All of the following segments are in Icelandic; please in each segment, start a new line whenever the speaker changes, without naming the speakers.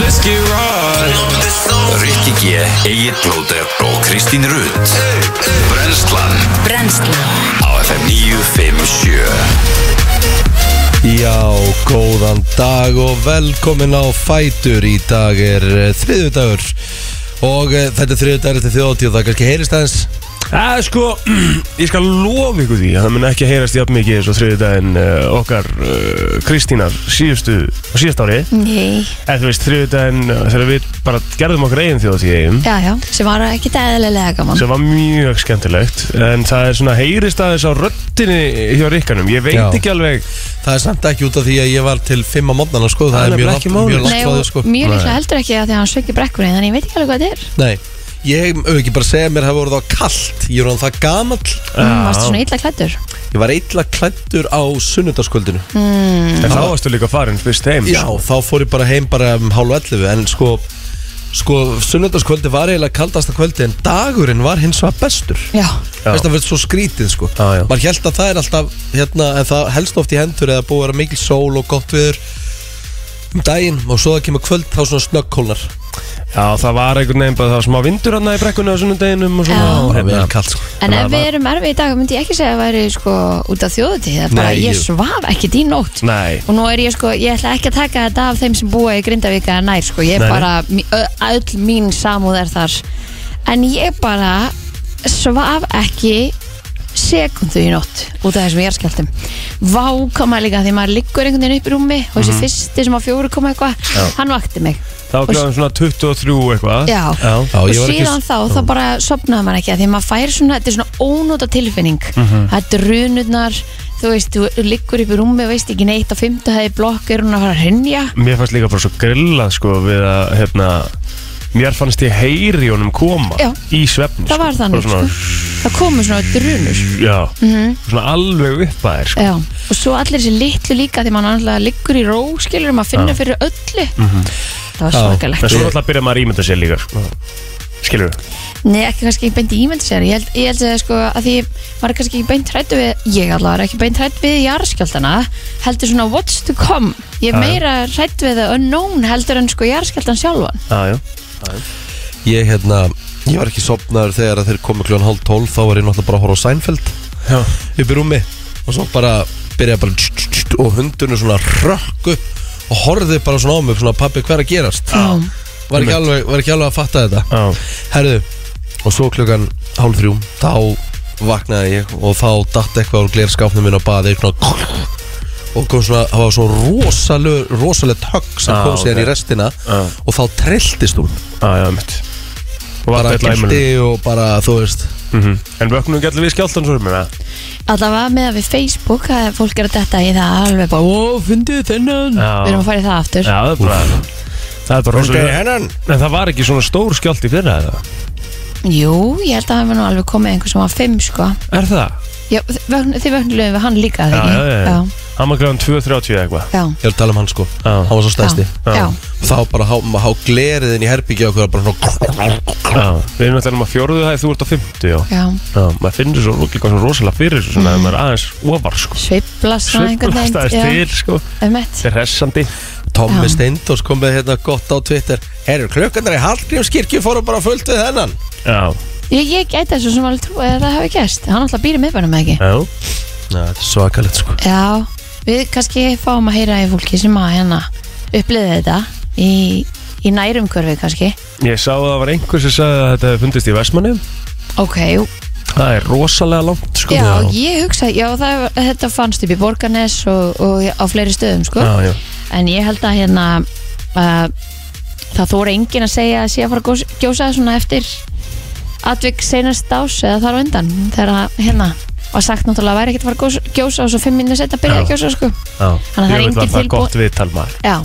Let's get right
Rikki G, Egil Blóter og Kristín Rutt Brenslan
Brennslan
á FM 957
Já, góðan dag og velkomin á Fætur Í dag er þriðudagur og eh, þetta er þriðudagur til þjóðatíð og það kannski heyrist aðeins
Það er sko, ég skal lofa ykkur því að það mun ekki heyrast jafn mikið eins og þriðudaginn uh, okkar uh, Kristínar síðustu, á síðast ári
Nei,
eða þú veist þriðudaginn uh, þegar við bara gerðum okkar eigin þjóðs í eigum
já, já, sem var ekki eðlilega gaman
sem var mjög skemmtilegt en það er svona heyrist aðeins á röttinni hjá rikkanum, ég veit
Já.
ekki alveg
Það er samt ekki út af því að ég var til fimm á mótnana sko, það
Það
er
er
mjög langt,
nefnilega ekki málið.
mjög langt
Nei,
frá
og
því sko
mjög líklega heldur ekki að því að hann sveiki brekkunni Þannig ég veit ekki alveg hvað þetta er
Nei, ég hef ekki bara að segja að mér hafa voruð á kallt Ég er orðan það gamall
mm, Varstu svona illa klættur
Ég var illa klættur á sunnudaskvöldinu
Mhm. en þá varstu líka farin fyrst heim
Já, þá fór ég bara heim bara um hálf 11 En sko, sko sunnudaskvöldi var eiginlega kaldasta kvöldi En dagurinn var hins vegar bestur
Já,
Já.
Þess að verður svo skrítið sko
Já, já.
Maður held að það er alltaf hérna, En það helst oft í hendur eða búið að vera mikil sól og gott viður Um daginn og svo það kemur kvöld þá svona snöggkólnar
Já, það var einhvern veginn bara það var smá vindur hann í brekkunni á sunnudeginum og svona
Já.
og
Bara
hérna,
vel kalt sko
en ef
Þannig að
við
var-
erum erfið í dag myndi ég ekki segja að væri sko út af þjóðutíð Það er bara
Nei,
ég
ég-
svaf ekki í nótt
Nei,
Og nú er ég sko, ég ætla ekki að taka þetta af þeim sem búa í Grindavík eða nær sko Ég
Nei,
er
nei.
bara, mi- ö- öll mín samúð er þar En ég bara svaf ekki sekundu í nótt út af þessum jarðskjáltum Vákama líka því maður liggur einhvern veginn upp í rúmi Og
Mhm.
þessi fyrsti sem á fjóru koma eitthvað, hann vakti mig
þá gráðum svona 23 eitthvað
Já.
Já,
og
ég var ekki
síðan þá, þá bara sopnaði maður ekki af því að maður fær svona, þetta er svona ónóta tilfinning
Mhm.
það er drunurnar þú veist, þú liggur upp í rúmi og veist ekki neitt á fymta hefði blokk er hún að fara að hrynja
Mér fannst líka bara svo grillað sko við að hérna Mér fannst ég heyri í honum koma
Já.
í svefni
það var þannig,
Bara
sko. Mhm.
svona,
það komu svona drunur
Já, svona alveg upp að þér sko.
Já. og svo allir þessi litlu líka því maður náttúrulega liggur í ró, skilur maður finnur fyrir öllu það var
Mhm. Já.
En
svakalegt
svo náttúrulega byrja maður að ímynda sér líka sko. Skilur við?
Nei, ekki kannski ekki beint í ímynd sér ég held, ég held að sko að því maður er kannski ekki beint hrættu við, ég allavega er ekki beint hrætt við jarðskjaldana, heldur svona what's to come, ég er
Já, já.
meira hrætt við the unknown heldur en sko jarðskjaldan sjálfan
Já, já
Ég hérna, ég var ekki sopnaður þegar að þeir komu kljóðan hálf tólf Þá var ég náttúrulega bara að horfa á Seinfeld
Já,
upp í rúmi Og svo bara byrjaði bara tss, tss, tss, Og hundurinn svona rökk upp Og horfði bara svona á mig, svona pabbi hver að gerast
Já.
Var ekki alveg, var ekki alveg að fatta þetta
já,
Herðu, og svo klukkan hálf þrjú, þá vaknaði ég og þá datt eitthvað úr glerskáfnum minn og baði eitthvað og kom svona, það var svo rosalegt rosaleg högg sem
Ah,
kom
ok.
síðan í restina
Ah.
og þá trilltist hún
já, já, mitt Og var
bara
þetta
gildi
eitthvað
og bara, þú veist
En vöknum ekki allir við skjáltan svo um það
allavega með að við Facebook að fólk er að detta í það alveg bara, ó, fundið þennan
Já.
við erum að fara í það aftur
Já, það er bara Það er bara rosalega
hennan
En það var ekki svona stór skjálti fyrir það
Jú, ég held að það var nú alveg komið einhver sem var fimm sko,
Er það?
Já, þið vökn- þið vöknulegum við hann líka
Já,
þegar
já, já, já.
já,
Hann var glæðan 2.30 eitthvað
já,
Ég er að tala um hann sko,
Ah.
hann var svo
já,
stæsti
Já.
já.
Þá bara há, há gleriðin í herbyggja okkur bara svona
Já, við erum náttúrulega um að fjórðu það Þú ert á 50, já
já.
Já, maður finnur svo líka svona rosalega fyrir þessu svona mm. að maður er aðeins ofar sko
Sveiflast svona einhvern veginn,
Sveiflast aðeins
já,
til sko
einmitt.
Þetta er hressandi
Tommi
Já.
Steindors kom með hérna gott á Twitter Herru, klukkan er í Hallgrímskirkju fórum bara fullt við hennan
Já,
Ég, ég gæti þessu sem alveg trúið að það hafi gæst Hann alltaf býri miðbænum eða ekki
já,
Já, þetta er svakalegt sko
Já, við kannski fáum að heyra í fólki sem að hérna upplýði þetta í, í nærumkörfi kannski
ég sá að það var einhver sem sagði að þetta hefði fundist í Vestmanni
Ok, jú.
Það er rosalega langt sko
já, ég hugsa Já, það, þetta fannst upp í Borgarnes og, og á fleiri stöðum sko
já, já.
En ég held að hérna að það þóra enginn að segja að sé að fara að gós- gjósa svona eftir atvik seinast ás eða þar á undan þegar að hérna var sagt náttúrulega að væri ekkert að fara að gós- gjósa og svo fimm minni setna byrja að
Já.
gjósa sko.
já.
Þannig að það er
Ég veit
engin
það
tilbú-
gott viðtal maður
Já,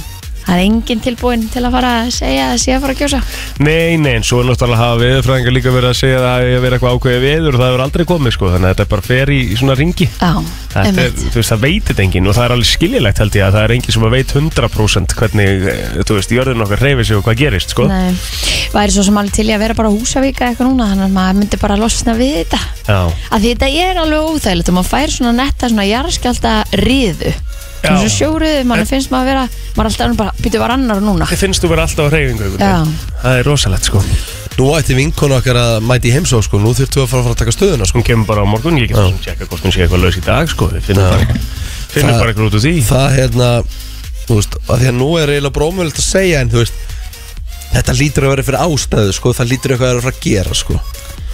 það er enginn tilbúinn til að fara að segja að sé að fara að gjósa
Nei, nei, en svo er náttúrulega hafa viðurfræðingar líka verið að segja að það hefur verið eitthvað ákveðið viður og það hefur aldrei komið sko Þannig að þetta bara fer í, í svona ringi
Já,
Þetta er,
einmitt.
þú veist, það veitir enginn og það er alveg skiljilegt held ég að það er enginn sem að veit 100% hvernig, eh, þú veist, jörðin okkar reyfi sig og hvað gerist, sko
Nei. væri svo sem alveg til í að vera bara á húsavík eða eitthvað núna þannig að maður myndi bara losna við þetta
Já.
að því þetta er alveg óþægilegt og maður fær svona netta svona jarðskjálta riðu
Já.
svona sjóriðu, mann finnst maður að vera maður er alltaf alveg bara, býtu var annar núna
Þið finnst þú vera alltaf á reyfingu
Já.
Það er rosalegt sko
Nú ætti vinkona okkar að mæti heimsó sko Nú þurftu að fara að fara að taka stöðuna sko
Hún kemur bara á morgun, ég get þessum tjekka hvort hún sé eitthvað laus í dag sko Við finnum bara, finnum
Það-
bara eitthvað út úr því
Það hérna Þú veist að Því að nú er eiginlega brómulegt að segja En þú veist Þetta lítur að vera fyrir ástæðu sko Það lítur eitthvað að vera að fara að gera sko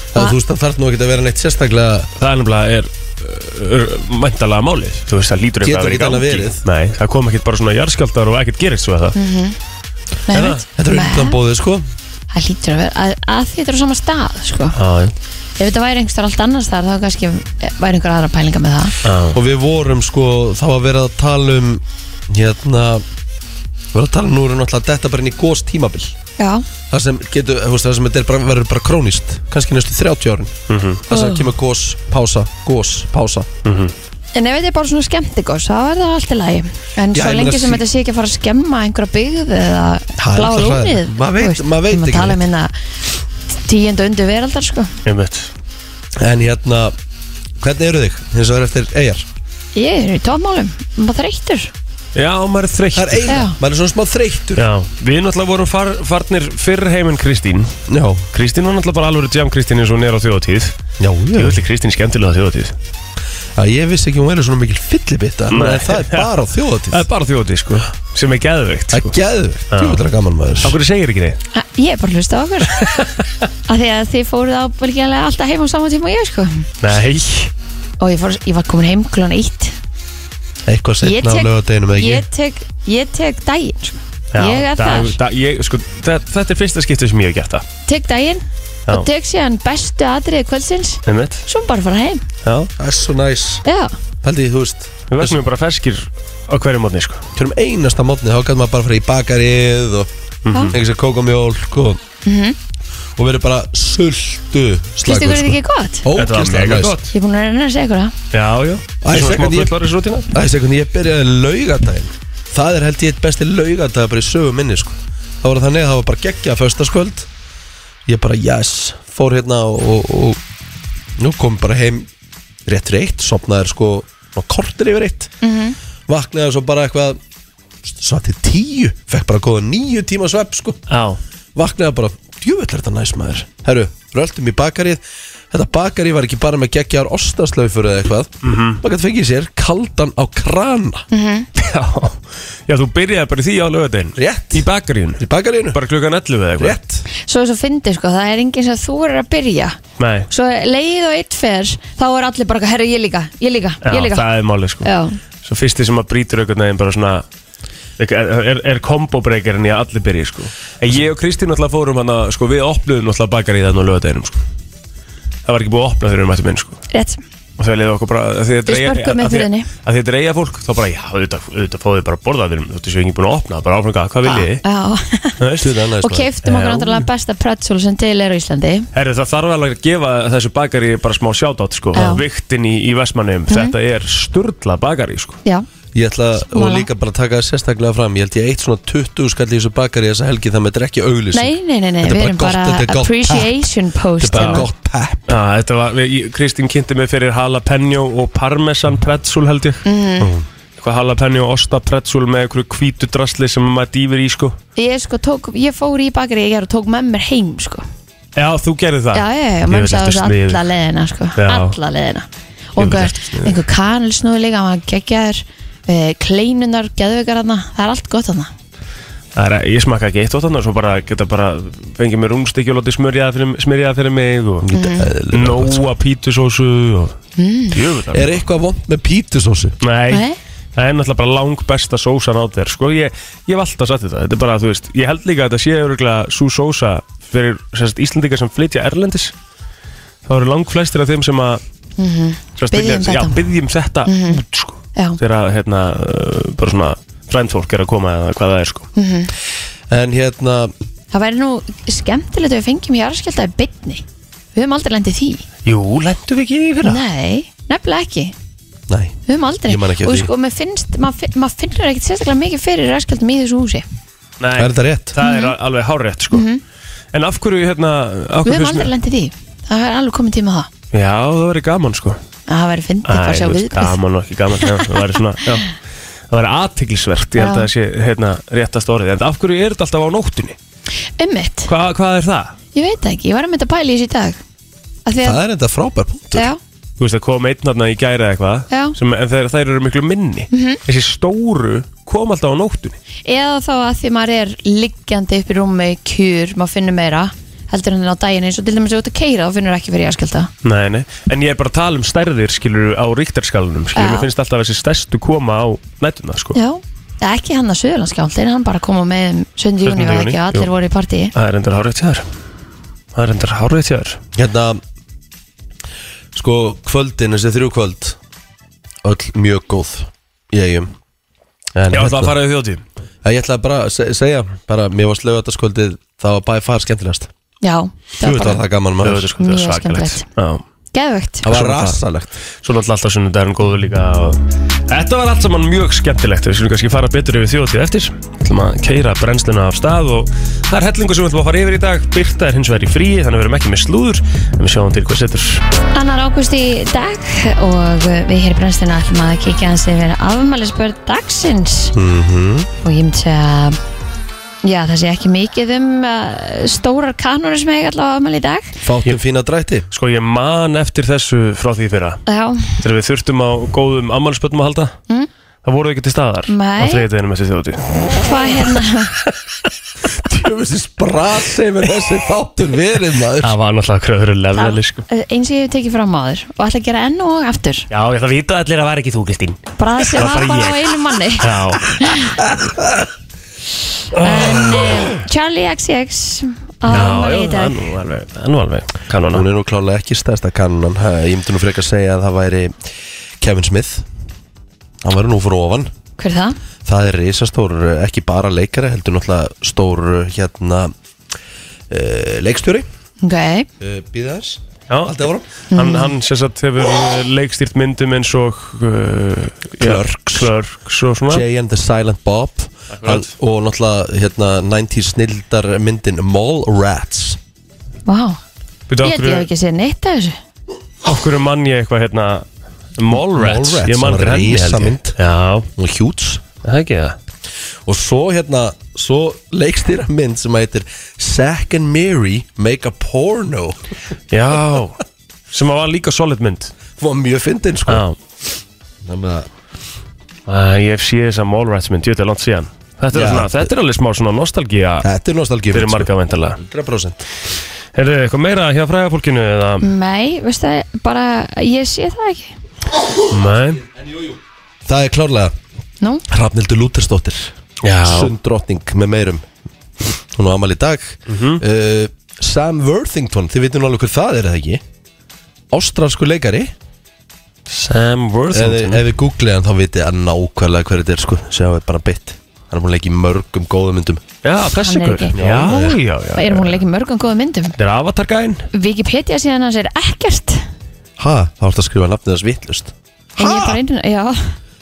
Það
Va-
þú veist það þarf nú ekki að vera neitt sérstaklega
Það er nefnilega er, uh, er, er mæntalega málið Þú veist, það lítur
Getur
eitthvað
ekki
að
annað
vera í gangi
verið.
Nei, það kom ekkert bara svona jarðskjaldar og ekkert gerist svo að það
Nei,
Er það?
veit.
Þetta er
Nei,
undanbóðið sko
það hlýtur að vera að, að því þetta er á sama stað sko.
Já,
ef þetta væri einhver allt annars þar þá kannski eh, væri einhver aðra pælinga með það
já
Og við vorum sko Þá að vera að tala um Hérna Við vorum að tala um nú erum náttúrulega Þetta bara inn í góðs tímabil
já,
Það sem getur þú veist, Það sem þetta er bara, verður bara krónist Kannski næstu 30 árin
Mhm.
Það
Ah.
sem kemur gós, pása, gós, pása
en ef þetta er bara svona skemmtigos þá er það allt í lagi en
Já,
svo
ég meina
lengi sem
sí-
þetta sé ekki að fara að skemma einhverja byggð eða
Það er
blá
alltaf
lónið
hræðilegt. Maður veit- maður veit ekki
maður tala um hérna tíundu undir veraldar sko.
Einmitt.
En hérna, hvernig eru þig? Hins vegar eftir eigjar
ég er í tómálum, maður þreyttur
Já, maður er þreytt
Það er e-
Já.
eigjar, maður er svona smá þreyttur
Já, við náttúrulega vorum far, farnir fyrr heim en Kristín
Já,
Kristín var náttúrulega bara alveg jam Kristín eins og hún er á þjóðatíð
já,
Ég vil Kristín skemmtilega á þjóðatíð
já Ég vissi ekki að hún verið svona mikil fyllibitta En
Nei.
það er bara á þjóðatíð
Það er bara þjóðatíð sko Sem er geðveikt
Það
sko
er geðvegt, tjóðlega gaman maður
Akkur segir ekki neitt
Ha, Ég er bara að hlusta á okkur að því að þið fóruð á velkjanlega alltaf heim á sama tíma og ég sko
Nei
og ég, fór, ég var komin heim klón 1
Eitthvað
Ég
setna á
tek-
lögadeginum eða
ég
ekki
tek, ég tek daginn sko. ég er
dag,
þar,
dag, ég, sko, það, Þetta er fyrsta skiptið sem ég hef gert það
tek daginn
Já.
og tek síðan bestu atriði kvöldsins
Einmitt
svo bara fara heim
Já
Það er svo næs
já,
Pældi, þú veist
Við verðum bara ferskir á hverju mótni sko
Hverjum um einasta mótni þá gæti maður bara að fara í bakarið og
Mhm.
fengið sér kókamjólk og, og verið bara sultu
finnst
slagur
Mhm. ykkur þetta ekki gott?
Ógæslega næs
gott
Ég er búin að reyna að segja ykkur það
Já, já
Æ,
Svona smá
second ég-
fullorðis rútina
Það er sekund, ég byrjaði laugadaginn Það er held ég eitt besti laugardag bara í sögu minni sko. Það var þannig að það var bara geggja Föstaskvöld Ég bara yes, fór hérna og, og, og nú kom bara heim Rétt fyrir eitt, sopnaði sko svona Kortir yfir eitt mm -hmm. Vaknaði svo bara eitthvað Svart til tíu, fekk bara góða níu tíma svepp sko
Já
Vaknaði bara, djúvill er þetta næs maður Herru, röltum í bakarið Þetta bakarið var ekki bara með geggjar Ostaslaufur eða eitthvað mm -hmm. Maður gæti fengið sér kaldan á krana
Já Já, þú byrjaði bara í því á lögadegin
Rétt.
Í bakaríun
Í bakaríinu?
Bara klukkan 11 eða eitthvað
Rétt
svo þess að fyndi sko, það er enginn sem þú er að byrja
Nei
svo leið og eitt fer þá er allir bara, herru ég líka, ég líka, ég
Já,
líka
það er málið sko
Já.
Svo fyrsti sem að brýtur einhvern veginn bara svona Er, er, er kombobreykar en ég allir byrji sko En ég og Kristín náttúrulega fórum hann að sko, Við opnuðum náttúrulega bakar í þannig á lögadeginum sko Það var ekki búið að opna þegar við mættum inn sko
rétt,
Og þau leiði okkur bara að því þetta
Við
er eiga-
spörkum með
af því-
hurðinni.
af því þetta er eiga fólk Þá bara já, auðvitað, auðvitað fóðu bara að borða þeir Þú þessu ekki búin að opna, bara áfram gaf, hvað viljið þið?
já
Þú veist,
Þetta er annað
og keiftum okkur
Já.
náttúrulega besta pretzel sem til er á Íslandi
Herru, það þarf alveg að gefa þessu bakari bara smá sjátátt sko
Já. Mhm.
Viktin í, í Vestmannum, þetta er sturla bakari sko
já,
Ég ætla og
Smála.
líka bara að taka það sérstaklega fram Ég held ég eitt svona 20 skall í þessu bakari þessa helgi Þannig að þetta er ekki auglýsing
nei, nei, nei, nei
Þetta
við
er
erum bara
gott, þetta er gott
appreciation
pepp.
post
Þetta er
hérna.
bara gott pepp
Já, þetta var, við, ég- Kristín kynnti mig fyrir jalapeno og parmesan pretzel held ég
Mhm.
mm. Eitthvað jalapeno og osta pretzel með einhverju hvítu drasli sem maður dýfir í sko
ég sko tók, ég fór í bakari ég og tók með mér heim sko
Já, þú gerði það
já, já, já,
Ég
mann
vil
sá
eftir
þessu
sniði.
alla leðina sko,
Já.
alla leðina og
Ég vil
einhver,
eftir sniði.
einhver kanilsnúði líka, maður geggjaður eh, kleinunar, geðveikar hana það er allt gott hana
Það er, Ég smakka ekki eitt og þannig Svo bara geta bara fengið mér rúmstykki og látið smyrjaða fyrir, smyrjaða fyrir mig
Mhm.
og mm. Nóa pítusósu og
Mm.
Jöfull,
Er eitthvað vond með pítusósu?
Nei,
Nei?
það er náttúrulega bara lang besta sósan á þér sko. ég, ég hef alltaf sagt þetta, þetta er bara, þú veist Ég held líka að þetta sé öruglega svo sósa fyrir sérst, Íslandingar sem flytja erlendis þá eru lang flestir af þeim sem að sérst,
Biðja um
vilja-
þetta.
já,
Mhm.
byggjum þetta út sko.
Já.
þegar að, hérna, uh, bara svona frændfólk er að koma eða hvað það er sko.
Mhm.
En hérna,
það væri nú skemmtilegt að við fengjum jarðskjálta í bytni við höfum aldrei lendið því
Jú, lendum við ekki fyrir það?
nei, nefnilega ekki
nei
Við höfum aldrei,
Ég man ekki
og
eftir því.
sko, maður finnst, maður finn- maður finnur ekkert sérstaklega mikið fyrir ræskjaldum í þessu húsi
Nei,
Er þetta rétt?
það er al- alveg hárrétt sko. En af hverju, hérna, af
Mhm. Við
hverju
höfum
finnst
aldrei
mér-
lendið í því. Það er alveg komið tíma á það.
Já, það væri gaman, sko
Að Það væri fyndið bara að sjá
þú veist,
viðbröð.
gaman og ekki gaman já, Það væri svona, já Það væri aðtiklisvert, ég held
Já.
að það sé, hérna, réttast orðið En af hverju er þetta alltaf á nóttunni?
Ummitt,
Hva, hvað er það?
ég veit það ekki, ég var að mynda að pæla í þessu í dag. Af því
Það er enda frábær punktur
Já,
Þú veist, það kom einn þarna í gæra eða
Já. Mhm.
eitthvað sem, En þeir, þeir eru miklu minni Þessi stóru kom alltaf á nóttunni
eða þá að því maður er liggjandi upp í rúmi, kjur, maður finnur meira heldur en á daginn eins og til dæmis ef þú ert að keira þá finnur ekki fyrir jarðskjálta.
Nei, nei, en ég er bara að tala um stærðir, skilur, á ríktarskalanum,
Já.
skilur, mér finnst alltaf þessi stærstu koma á nættuna, sko.
Já, það er ekki hann að Suðurlandskjáltin, hann bara koma með um 7. júni
17.
var
júní,
ekki og allir
jú.
voru í partíi.
Það er endur hárétt hjá þér. Það er endur hárétt hjá þér.
Hérna Sko kvöldin, þessi þrjú kvöld Öll mjög góð Í eigum en,
Já,
hérna,
það faraði þjótið.
að Ég ætla bara að se- segja bara, Mér var slöðu þetta skvöldið Það var bæði far skemmtilegast
Já,
Þú
það var
veit var
bara
það gaman maður
Þjótið, sko, það var
Mjög
svakalegt.
skemmtilegt.
Já.
geðvögt.
Það var
Svo var það.
rasalegt
Svo náttúrulega alltaf sunnudagurinn góður líka og... Þetta var allt saman mjög skemmtilegt. Við skulum kannski fara betur yfir þjótið eftir. Við ætlum að keira brennsluna af stað og það er hellingu sem við ætlum að fara yfir í dag. Birta er hins vegar í fríi, þannig að við erum ekki með slúður. En við sjáum til hvað setur.
Annar águst í dag og við hér í brennstina ætlum að kíkja hans yfir afmælisbörn dagsins -hmm. og ég myndi segja að, já, það sé ekki mikið um uh, stórar kanónur sem hefði allavega afmæli í dag
Fáttum fína drætti
Sko, ég man eftir þessu frá því í fyrra.
Já,
þegar við þurftum á góðum ammálspötum að halda mm? það voru ekki til staðar
Nei.
á þriðdeginum eftir þjóðtíð
hvað hérna
Þessi sprasi með þessi fáttum verið maður
það var náttúrulega kröður lefðali sko.
uh, eins og ég hef tekið fram áður og ætla að gera enn og aftur
já, ég ætla að vita allir að það var ekki þú, Kristín
bara það sem
Það var
var
bara
bara
ég.
á einu manni
já,
en uh, Charlie XX afmæli í
það er
dag
nú alveg það er nú alveg kanona
Hún er nú klálega ekki stærsta kannan Ha, Ég myndi nú frekar segja að það væri Kevin Smith Hann væri nú fyrir ofan
hver er það?
Það er risastór, eh, ekki bara leikari heldur náttúrulega stór eh, hérna uh, leikstjóri
ok,
uh, Býða þess
já,
áfram
hann, hann sér satt hefur eh, leikstýrt myndum eins og uh,
Clerks.
klörks og svona
Jay and the Silent Bob hann, og náttúrulega hérna 90s snildar myndin Mallrats
vá
Býtu,
ég held ég hef
okkur,
ekki séð neitt af þessu
okkur mann ég eitthvað hérna Mallrats,
Mallrats,
ég mann
það var
grann
risamynd.
já,
hún er hjúts
það er ekki það
og svo hérna svo leikstýra mynd sem heitir Zack and Mary Make a Porno
já, sem að var líka solid mynd
var mjög fyndin sko
já
Þannig að
Uh, ég hef séð þessa Mallrats mynd, ég veit að langt síðan Þetta er,
Já.
svona, þetta er alveg smá svona nostalgía
þetta er sko. nostalgíf
fyrir marga veintalega
100%
Er það eitthvað meira hjá fræga fólkinu eða?
Nei, veistu það, bara ég sé það ekki
Nei
það er klárlega
Nú,
Hrafnildur Lútersdóttir
Já
sunddrottning með meirum hún á amal í dag
Mhm.
uh, Sam Worthington, þið veitum alveg hver það er eða ekki ástralsku leikari
Sam
ef,
Worthington
þið- ef við googlið hann þá vitið að nákvæmlega hver þetta er sko, sem við bara bytt hann er búin að leika í mörgum góðum myndum
Já,
Hann
Pessikur
er ekki.
Já, já, já
það erum hún leikið mörgum góðum myndum
Þetta er Avatar-gæn
Wikipedia síðan hans er ekkert
ha, þá ertu að skrifa nafnið þess vittlust
En ég er bara einu, já,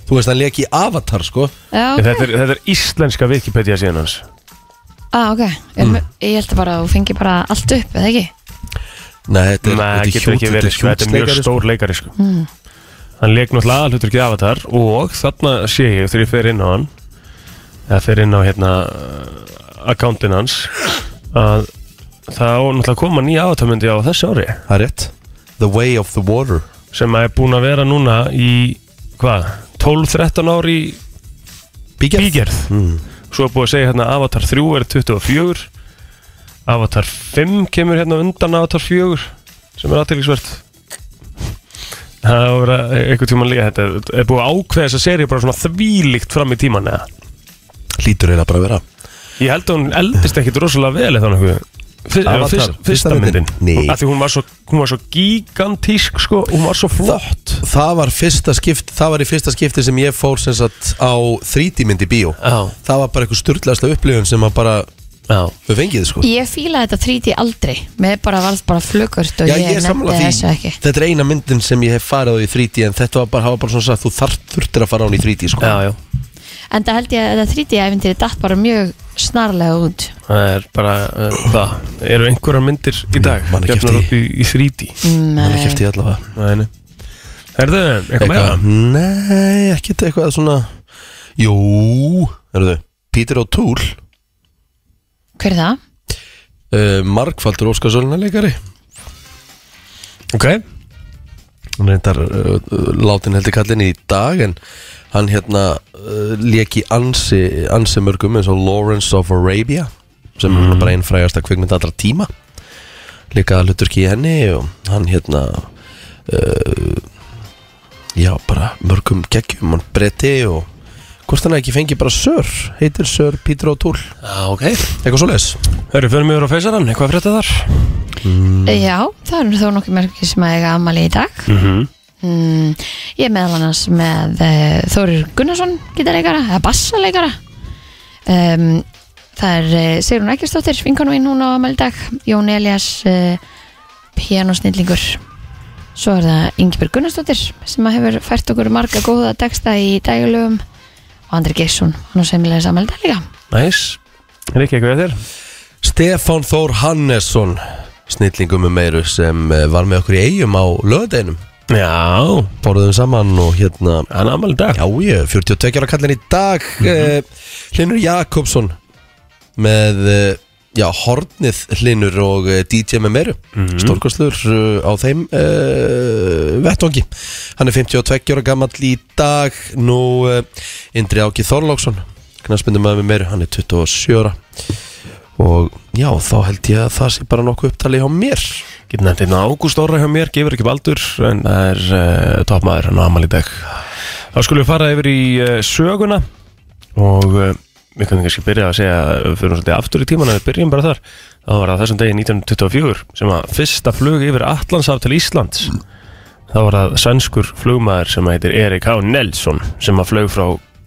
þú veist hann leik í Avatar sko
já, ok,
þetta, er- þetta er íslenska Wikipedia síðan hans
ah, okay. Mm. Ég held bara að þú fengi bara allt upp, eða ekki?
nei, þetta er,
Nei,
þetta er
getur ekki
hjút-
verið sko,
hjúts
Þetta er mjög
leikari, sko.
stór leikari sko Hann leik náttúrulega aðalhutur ekki Avatar Og þarna sé ég þegar ég fer inn á hann Eða fer inn á hérna uh, Accountin hans Að það á náttúrulega koma nýja Avatarmyndi á þessu ári
það er rétt The Way of the Water
Sem að er búin að vera núna í Hvað? 12-13 ári í
Bígerð Mm.
bígerð Svo er búið að segja hérna Avatar 3 er 24 Avatar 5 kemur hérna undan Avatar 4 sem er aðtýrlisvert Það er að vera einhvern tímann líka þetta er búið að ákveða þessa seri bara svona þvílíkt fram í tíman eða
lítur eiginlega bara að vera
Ég held að hún eldist ekkit rosalega vel eða nokkuð Fyrst,
Avatar,
fyrst,
fyrsta
fyrsta
myndin?
myndin
Nei.
Af því hún var svo, hún var svo gigantísk sko, hún var svo flott
það var fyrsta skipt það var í fyrsta skipti sem ég fór sem sagt á 3D mynd í bíó
Já,
það var bara eitthvað styrlaðasta upplifun sem að bara
já
við fengið sko
Ég fíla þetta 3D aldrei Mér bara varð bara flugurt og
Já,
ég,
ég er sammála
nefndi
því.
þessu ekki
Þetta er eina myndin sem ég hef farið á í 3D en þetta var bara, hafa bara svona sagt þú þarf þurftir að fara á hún í 3D sko
Já, já,
En það held ég að þetta 3D-æfindir datt bara mjög snarlega út
Það er bara uh, það Eru einhverjar myndir í dag
man ekki
Gefnar
eftir
upp í, í 3D
Man er kæfti allavega
Nei, nei Herðu, eitthvað meira?
Eitthvað, nei, ekkert eitthvað svona Jú, verðu Peter O'Toole
Hver er það?
uh, Markfaldur Óskarsöluna leikari
Ok
Hann reyndar uh, uh, látin heldur kallin í dag en hann hérna uh, lék í ansi, ansi mörgum eins og Lawrence of Arabia sem mm.
Mhm.
er bara einn frægasta kvikmynd allra tíma líka hluturki í henni og hann hérna uh, já bara mörgum geggjum, hann bretti og hvort hann hafi ekki fengi bara Sir heitir Sir Peter O'Toole
ah, Ok
eitthvað svo leis
Herru, förum yfir á feysarann Eitthvað frétta þar? Mm.
Eh, Já, það eru þó nokkuð merki sem að eiga ammali í dag mm
Mhm.
Ég er meðal annars með uh, Þórir Gunnarsson gítarleikara, eða bassaleikara um, Það er uh, Sigrun Ekkjastóttir, vinkonu mín hún á ammali í dag Jón Elias uh, pianosnillingur Svo er það Ingibjörg Gunnarsdóttir sem að hefur fært okkur marga góða texta í dægulegum og Andri Geirsson, hann á semilega sammæli dag líka
Næs Er ekki eitthvað hjá þér?
Stefán Þór Hannesson snillingum með meiru sem eh, var með okkur í eigum á löðdeinum
Já
borðum saman og hérna
Hann amal í dag
já ég, 42 ára kallin í dag mm Hlinur Jakobsson með eh, já, Hornið Hlinur og eh, DJ með meiru mm á þeim uh, vettvangi hann er 52 ára gamall í dag nú uh, Indri Áki Þorláksson knarsmyndum með meiru, hann er 27 ára og já, þá held ég að það sé bara nokkuð upptalið hjá mér
Getur nefnt einn ágúst ára hjá mér Gefur ekki baldur En það er uh, topmaður Hann amal í dag Þá skulum við fara yfir í uh, söguna Og uh, við kannum kannski byrja að segja uh, Við fyrir svolítið aftur í tíman En við byrjum bara þar Það var það þessum degi 1924 Sem að fyrsta flug yfir Atlantsaf til Íslands þá var það sænskur flugmaður sem heitir Erik H. Nelson sem að flög frá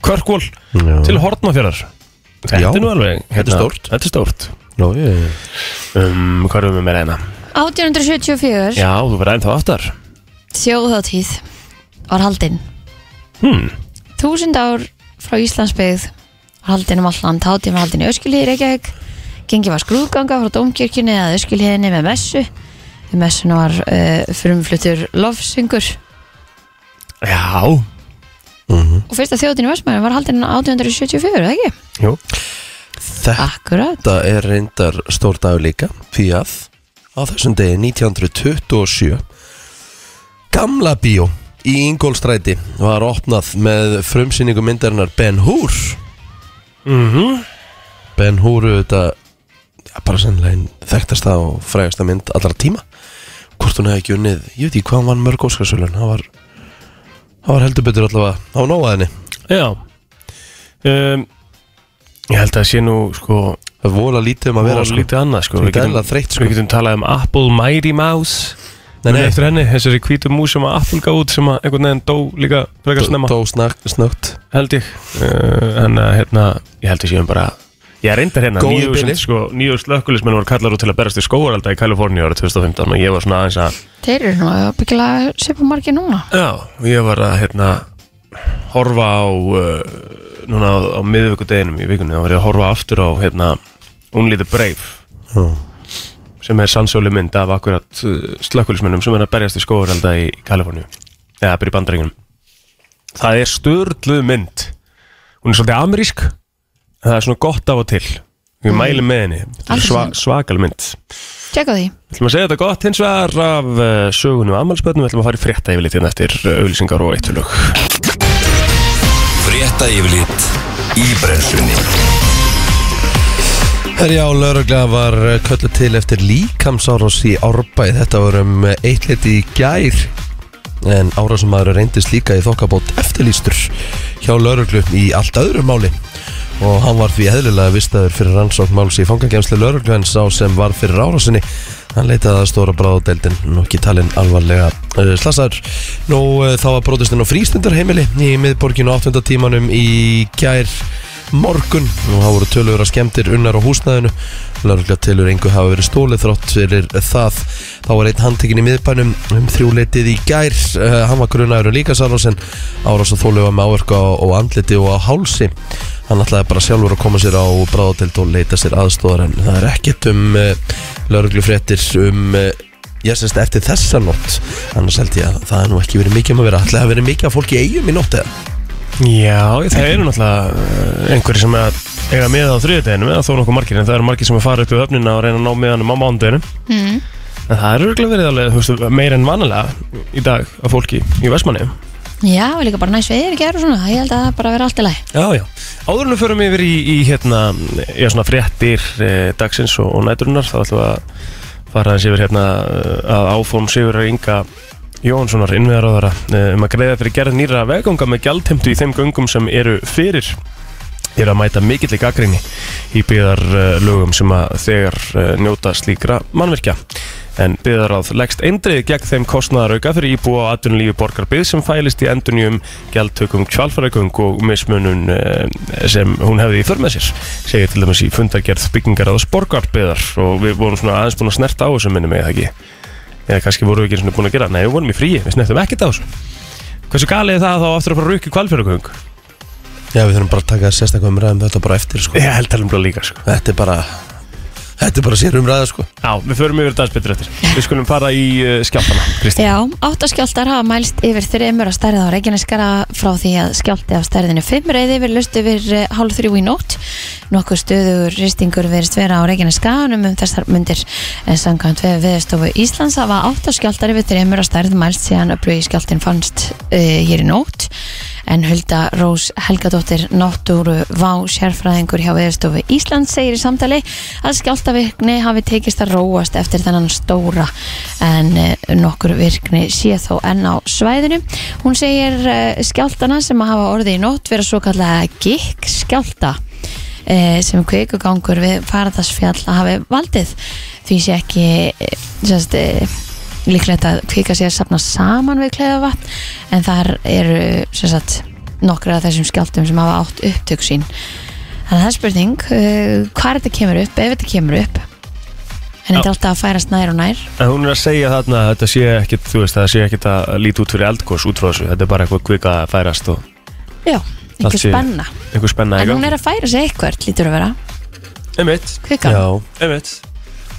Körkvól
Já.
til Hortnafjörðar Þetta
Já,
er nú alveg hérna,
þetta er stórt.
Þetta er stórt
Nó, ég,
um, Hvað erum við með reyna?
1874
Já, þú verður ennþá aftar
Þjóðháttíð var haldinn
hmm.
Þúsund ár frá Íslandsbyggð var haldinn um alland Hátíðin var haldinn í Öskilíð í Reykjavík Gengi var skrúðganga frá Dómkirkjunni að Öskilíðinni með messu Við messuna var uh, frumfluttur lofsyngur
Já
og fyrsta þjóðin í Vestmæri var haldinn 1874, eða ekki?
Jú.
þetta
Akkurat
Þetta er reyndar stór dagur líka því að á þessum degi 1927 Gamla bíó í Ingólstræti var opnað með frumsýningu myndarinnar Ben Hur
Mm
Ben Hur auðvitað ja, bara sennilega einn þekktasta og frægasta mynd allra tíma hvort hún hefði ekki unnið, ég veit ekki hvað hann vann mörg óskarsölun hann var, hann var heldur betur allavega á nóaðinni
Já um, Ég held að það sé nú sko
það vola lítið um að vera
og
sko.
lítið annað sko
Sem
Við
þetta
getum,
er alveg þreytt, sko.
við getum talað um Apple Mighty Mouse
Nei, nei.
Eftir henni, þessari hvítu mús sem að Apple gaf út sem að einhvern veginn dó líka frekar snemma
dó snakk, snögt
held ég uh, en uh, hérna, ég held ég séum bara ég reyndar hérna,
Góð í
nýju
bili.
sem, sko, nýju slökkulismenn voru kallar út til að berast í skóaralda í Kaliforníu árið 2015 og ég var svona aðeins að
Þeir eru nú að byggja svipa margir núna
já, ég var að hérna horfa á uh, núna á, á miðvikudeginum í vikunni þá var ég að horfa aftur á hérna Only the Brave
Já.
sem er sannsjóli mynd af akkurat uh, slökkulismennum sem er að berjast í skóaralda í Kaliforníu eða bara í bandaríkunum það er störluð mynd hún er svolítið amerísk en það er svona gott af og til við mælum með henni, Þetta er
Mm. Aldrei
sva,
séð.
svakal mynd við
Tjekka því
ætlum að segja þetta gott hins vegar af uh, sögunum ammálspötnum, við ætlum að fara í frétta yfirleitt hérna eftir uh, auglýsingar og eittlög
Frétta yfirlit í brennslunni
Herjá, lauruglega var eh, kölluð til eftir líkamsárás í árbæð Þetta var um eh, eitt liti í gær En árásumæður reyndist líka í þokkabót eftirlýstur hjá lauruglu í allt öðru máli Og hann var því eðlilega vistaður fyrir rannsókn máls í fangagemslu lauruglu En sá sem var fyrir árásinni Hann leitaði að stóra bráðadeldin Nú ekki talinn alvarlega uh, slasaður eh, Nú uh, þá var brotistinn á frístundarheimili Í miðborginu áttunda tímanum í gær morgun og það voru tölur að skemmtir unnar á húsnæðinu Lörgla telur engu hafa verið stólið þrótt fyrir það þá var einn handtekinn í miðbænum um þrjúleitið í gær uh, hann var grunnaður um líka sárás en árás að þólu var með áverka á, á andliti og á hálsi hann ætlaði bara sjálfur að koma sér á bráðatild og leita sér aðstóðar en það er ekkert um uh, lörglu fréttir um uh, Ég sérst eftir þessa nótt Annars held ég að það er nú ekki verið mikið um að vera Ætli að verið mikið af fólki í eigum í nótt eða
Já, það eru náttúrulega eh, einhverjir sem að eiga miða á þriðudeginum eða þó nokkuð margir, en það eru margir sem að fara upp í öfnina og reyna að ná miðanum á mánudeginum
Mm.
en það eru örugglega verið alveg þú veist, meir en vanalega í dag af fólki í Vestmanni
Já, og líka bara næs veður í gær og svona Ég held að það bara verið allt í lagi
Já, já Áður en við förum yfir í, í hérna já, svona fréttir eh, dagsins og, og næturinnar þá ætlum við að fara aðeins yfir hérna eh, að áfórum Sigur Inga Jónssonar innveðaráðara eh, um að greiða fyrir gerð nýra veganga með gjaldheimtu í þeim göngum sem eru fyrir er að mæta mikill í gaggrinni í byðar lögum sem að þegar eh, njóta slíkra mannvirkja en byðaráð leggst eindrið gegn þeim kostnaðarauka fyrir íbúa á atvinnulífi borgarbið sem fælist í endunjum gjaldtökum kvalfaragöng og mismunun eh, sem hún hefði í för með sér segir til dæmis í fundargerð byggingar áðs borgarbyðar og við vorum svona aðeins búin að snerta á þessu minni með það ekki eða kannski vorum við ekki svona búin að gera nei við vorum í fríi, við snertum ekkert á þessu hversu galið er það þá aftur að fara að rukki kvalfaragöng
Já, við þurfum bara að taka sérstaklega umræðum þetta bara eftir sko.
ég held talum bara líka sko
Þetta er bara Þetta er bara sér umræða sko.
Já, við förum yfir dans betur eftir Við skulum fara í uh, skjálfana, Kristi
Já, áttaskjáltar hafa mælst yfir þreymur á stærð á Reykjaneskara frá því að skjálti á stærðinu 5 reyði við lust yfir eh, hálf þrjú í nótt. Nokkuð stöðugur ristingur verist vera á Reykjaneskaranum um þessar mundir en samkvæmt við viðstofu Íslands hafa áttaskjáltar yfir þreymur á stærð mælst síðan að brugi skjáltin fannst uh, hér í nótt en Hulda Rós Helgadóttir náttúru vá sérfræðingur hjá viðstofu Íslands segir í samtali að skjáltavirkni hafi tekist að róast eftir þennan stóra en eh, nokkur virkni sé þó enn á svæðinu. Hún segir eh, skjáltana sem að hafa orðið í nótt vera svo kallega gikk skjálta eh, sem kveikugangur við farðasfjall að hafi valdið því sé ekki eh, sérst, eh, líklegt að kvika sé að sapna saman við klefavatn en þar eru sem sagt nokkra af þessum skjáltum sem hafa átt upptök sín þannig að það er spurning uh, hvað þetta kemur upp, ef þetta kemur upp en þetta er alltaf að færast nær og nær
En hún er að segja þarna að þetta sé ekkit, þú veist, það sé ekkit að líti út fyrir eldgós út frá þessu Þetta er bara eitthvað kvika að færast og
já,
Allt
einhver
sé-
spenna
einhver spenna
en hún er að færa sig eitthvað, lítur að vera
Einmitt,
kvikan,
einmitt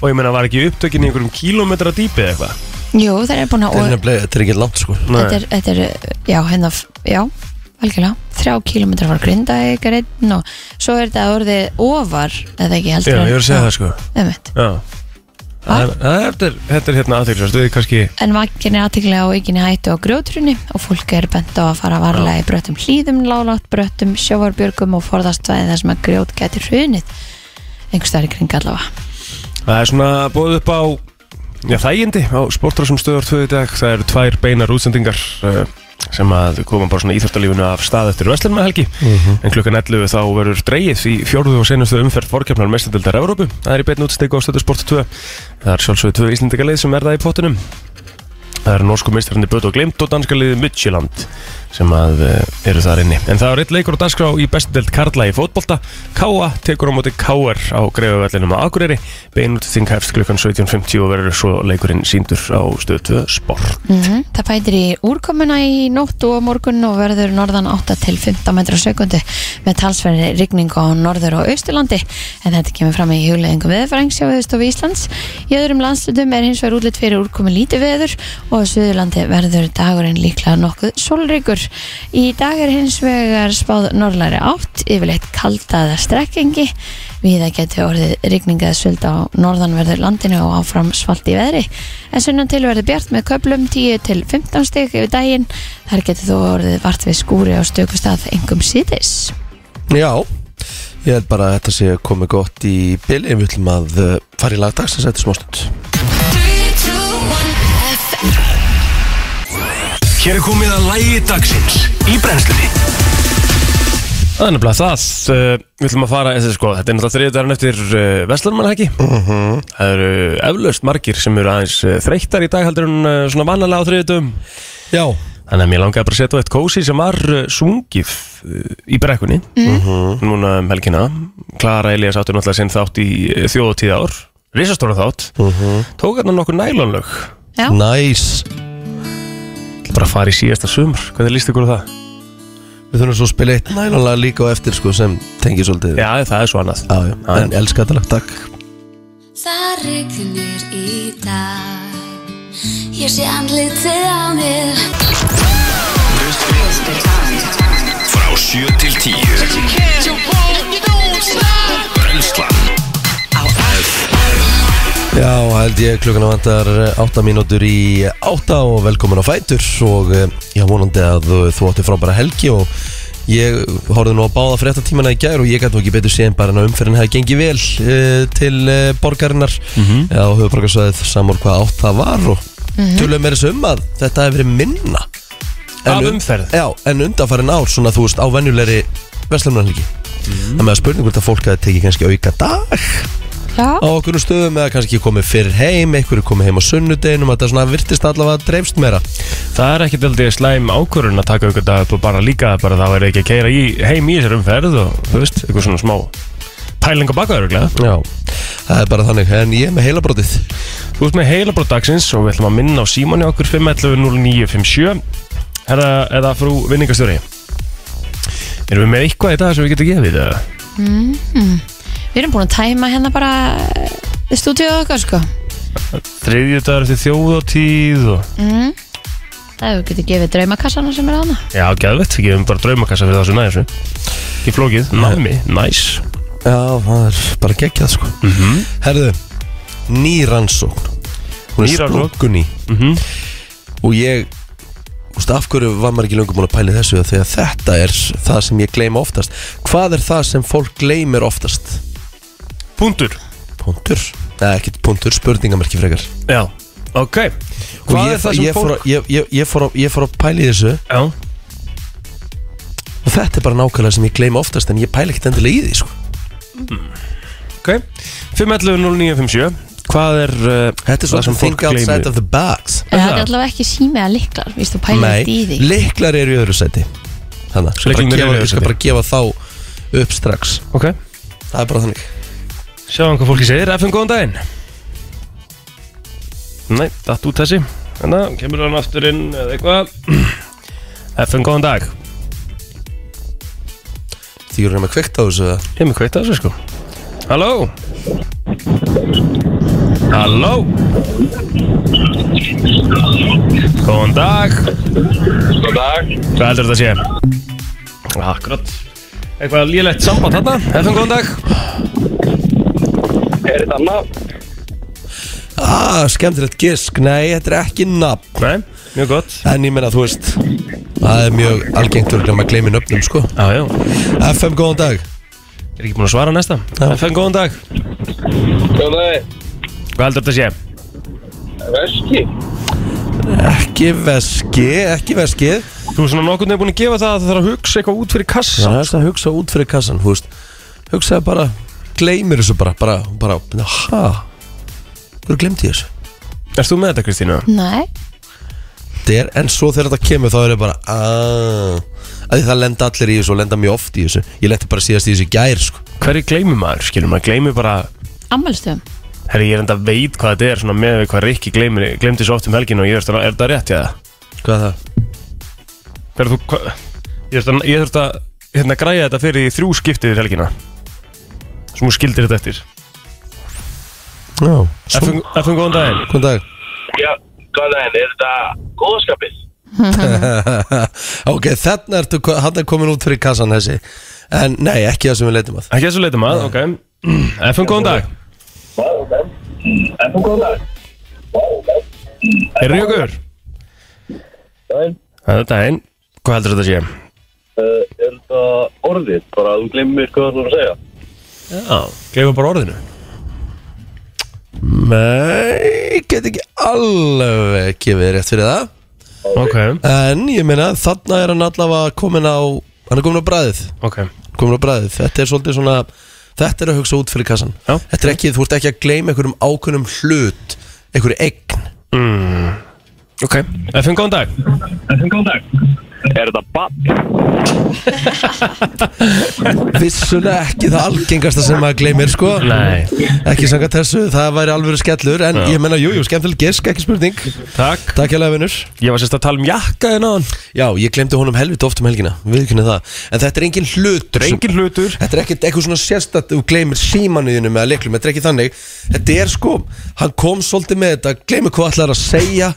Og ég meina, var ekki upptökin í einhverjum kílómetra dýpi eða eitthvað?
jú, það er búin að
Þetta er
og,
nefnilega- þetta er ekki langt sko.
þetta, er, þetta er, uh, já, hérna f- já, algjörlega, þrjá kilometrar var grinda eitthvað einn og svo er þetta orðið ofar, eða ekki
Já,
heldur
ég er að segja það sko
það
Já Það er- það er- Þetta er, þetta er hérna aðeinsvært, við kannski
En vakin er aðteglega á aukinni hættu á grjótrunni og fólk er bent á að fara varlega í bröttum hlýðum, lálátt bröttum, sjóarbjörgum og forðast svæði þar sem að grjót gæti hrunið einhvers staðar í kring allavega.
Það er svona bóð upp á já, þægindi á sportrásum stöður tvöðu dag Það eru tvær beinar útsendingar uh, sem að koma bara svona íþjóttalífinu af stað eftir vestlun með helgi en klukkan 11 þá verður dreigið í fjórðu og senastu umferð forkefnar mestadildar Evrópu það er í beinu útstegu á stöðu sport 2 það er sjálfsögðu tvö íslendingaleið sem verða í pottinum það eru norsku meistarandi Bötu og Glimt og danska liðið Midtjylland sem að uh, eru þar inni en það er eitt leikur á dagskrá í bestudeld Karla í fótbolta K.A. tekur á móti K.R. á greiðuvellinum á Akureyri beinutting hefst klukkan 17.50 og verður svo leikurinn síndur á stöðu 2 sport
Mm Það bætir í úrkomuna í nótt og á morgun og verður norðan 8 til 15 metra sekundu með talsverði rigningu á norður og austurlandi en þetta kemur fram í hugleðingum veðfrængs hjá Öðustofu Íslands. Í öðrum landslutum er hins vegar útlitt fyrir úrkomi lítið veður og á Suðurlandi verður dagurinn líklega nokkuð sólríkur. Í dag er hins vegar spáð norðlæri átt, yfirleitt kaldaða strekkingi, við að geti orðið rigningað sölda á norðanverður landinu og áfram svalt í veðri. En sunnan til verður bjart með köplum 10 til 15 stygg yfir daginn, þar geti þú orðið vart við skúri á stöku stað engum síðis.
Já Ég held bara að þetta sé komið gott í bili Við ætlum að uh, fara í lagdags að setja smástund
Hér er komið að lægi dagsins í brennslunni
Það er nefnilega það uh, Við ætlum að fara, eða, sko, þetta er náttúrulega þriðdagarn eftir uh, Vestlunmannhæki Það eru eh, eflaust margir sem eru aðeins uh, þreyttar í dag heldur en uh, svona vannalega á þriðdum
Já,
Þannig að mér langaði bara að setja á eitt kósi sem var uh, sungið uh, í brekkunni Núna um helgina Klara Elias áttur náttúrulega sinn þátt í uh, þjóðatíð ár Risastóra þátt
Mhm.
Tók hérna nokkur nælonlög
Já,
Næs
Bara að fara í síðasta sumur Hvernig líst ykkur á það?
Við þurfum svo að spila eitt nælonlega líka á eftir sko sem tengir svolítið
Já, það er svo annað
Já, já,
Já,
en elska þetta lag, takk
Það regnir í dag Ég sé andlitið á mér
Frá 7 til 10 Brennslan
Já, held ég klukkan að vantar 8 mínútur í 8 og velkomin á Fætur og eh, já, vonandi að þú- þú átti frábæra helgi og ég horfði nú að báða fréttatímana í gær og ég gæti nú ekki betur séð en bara en að umferðin hefði gengið vel uh, til uh, borgarinnar mm
Mhm.
-hmm. já, og höfuborgarsvæðið samur hvað átt það var og mm -hmm. tölum er þessu um að þetta hefur verið minna
Af
un-
umferð?
Já, en undanfærin ár svona þú veist á venjulegri verslumnarhelgi
Mhm.
Það með að spurning hvort að fólk hafi tekið kannski auka dag
já,
á okkur stöðum eða kannski komið fyrr heim, einhverju komið heim á sunnudeginum þetta svona virtist allavega að dreifst meira
Það er ekkert aldrei slæm ákvörun að taka ykkur dag upp og bara líka bara það væri ekki að keira í, heim í þessar umferð og þú veist, eitthvað svona smá pæling á baka öruglega.
Já, það er bara þannig, en ég er með heilabrótið
Þú veist með heila dagsins og við ætlum að minna á símanni okkur 511-0957 Herra eða frú vinningastjóri Erum við með eitthvað í dag sem við getum gefið eða?
við erum búin að tæma hérna bara eh, stúdíóið okkar sko
Þriðju dagar eftir þjóðatíð og...
Það hefur getið gefið draumakassana sem er hana
Já, geðvett, við gefum bara draumakassa fyrir það sem næður þessu Ekki flókið, námi, næs
Já, það er bara geggjað sko mm -hmm. Herðu, nýrannsókn Hún er
Ný rannsókn?
sprungun í Og ég, þú veist, af hverju var maður ekki löngum búin að pæli þessu þegar þetta er það sem ég gleyma oftast Hvað er það sem fólk gleymir oftast?
Puntur
Puntur? Nei, ekkert puntur, spurningamarki frekar
Já, ok
Og
Hvað
ég-
er það sem
ég fór
fólk...
að- ég- ég- Ég fór að- ég fór að pæli þessu
Já,
Og þetta er bara nákvæmlega sem ég gleyma oftast en ég pæla ekkert endilega í því sko.
ok 511-0957 Hvað er uh,
Þetta er
það
svona
sem fólk
think outside
gleymir?
of the box
En það er allavega ekki sími að liklar, víst, þú pælir
Nei,
ekki í því
lyklar eru í öðru sæti Þannig, skal bara
Lyklarnir
gefa,
eru í öðru
ég skal
sæti.
bara gefa þá upp strax
Ok,
Það er bara þannig
sjáum hvað fólki segir FM, góðan daginn Nei, datt út þessi Þannig, að kemur hann aftur inn eða eitthvað FM, góðan dag
Því eru með kveikt á þessu eða?
Ég er með kveitt að þessu sko Halló Halló Góðan dag Góðan dag Hvað heldur þetta að sé? Akkurat Eitthvað lélegt samband þarna FM, góðan dag
Ah, skemmtilegt gisk, nei, þetta er ekki nafn
Nei, mjög gott
En ég meina, þú veist Það er mjög algengt örgulega maður gleymi nöfnum, sko
Já, já
FM, góðan dag
Er ekki búin að svara næsta?
Já.
FM, góðan dag Hvað heldur þetta að sé?
Ekki veski, ekki veski
Þú er svona nokkurn veginn búin að gefa það að það þarf að hugsa eitthvað út fyrir kassa
Það er það að hugsa út fyrir kassan, þú veist Hugsaði bara, gleymir þessu bara Bara, bara, ha Hverju glemdi ég þessu?
Erst þú með þetta, Kristína?
Nei,
Þetta er, en svo þegar þetta kemur þá er ég bara aaaah Af því það lenda allir í þessu og lenda mjög oft í þessu Ég lendi bara síðast í þessu í gær, sko
Hverju gleymir maður? Skilur maður gleymir bara
ammælstöðum
Herri, ég er enda veit hvað þetta er svona með við hvað Rikki gleymir, glemdi svo oft um helgin og ég þurft að, er þetta rétt, já?
Hvað er það?
Hver þú, hva, ég þurft að, ég þurft að, hérna, græja þetta fyrir í þrjú skiptið fyrir helgina sem hún skildir þetta eftir
Já, svo,
FN, FN góðan daginn
hvern dag?
Já, hvað er þetta góðskapið?
ok, þarna ertu, ko- þarna er komin út fyrir kassan þessi En nei, ekki það sem við leitum að
Ekki þessu leitum að, ok FN góðan dag Erum við okkur?
Daginn.
Það er daginn Hvað heldur þetta sé?
Uh, er þetta orðið? Bara að þú glemir hvað þú er að segja?
Já Gleifum bara orðinu
Nei, ég get ekki alveg gefið rétt fyrir það
Ok,
En ég meina, þarna er hann allavega komin á Hann er komin á bræðið
ok
komin á bræðið Þetta er svolítið svona Þetta er að hugsa út fyrir kassan
Já.
Þetta er ekki, þú ert ekki að gleyma einhverjum ákunnum hlut Einhverju eign mm.
Ok FM, góðan dag
Er þetta bann?
Vissulega ekki það algengasta sem maður gleymir sko
Nei
Ekki sanga þessu, það væri alveg skellur En ég menna, jújú, skemmtileg gisk, ekki spurning
Takk
Takk hérlega vinnur
Ég var sérst að tala um jakka en áðan
Já, ég glemdi honum helviti oft um helgina, viðkynni það En þetta er engin hlutur sem-
Engin hlutur
Þetta er ekkert eitthvað svona sérstætt Þú gleymir símanuðinu með að leiklum, þetta er ekki þannig Þetta er sko, hann kom svolítið með þetta Gleymir hvað ætlar að segja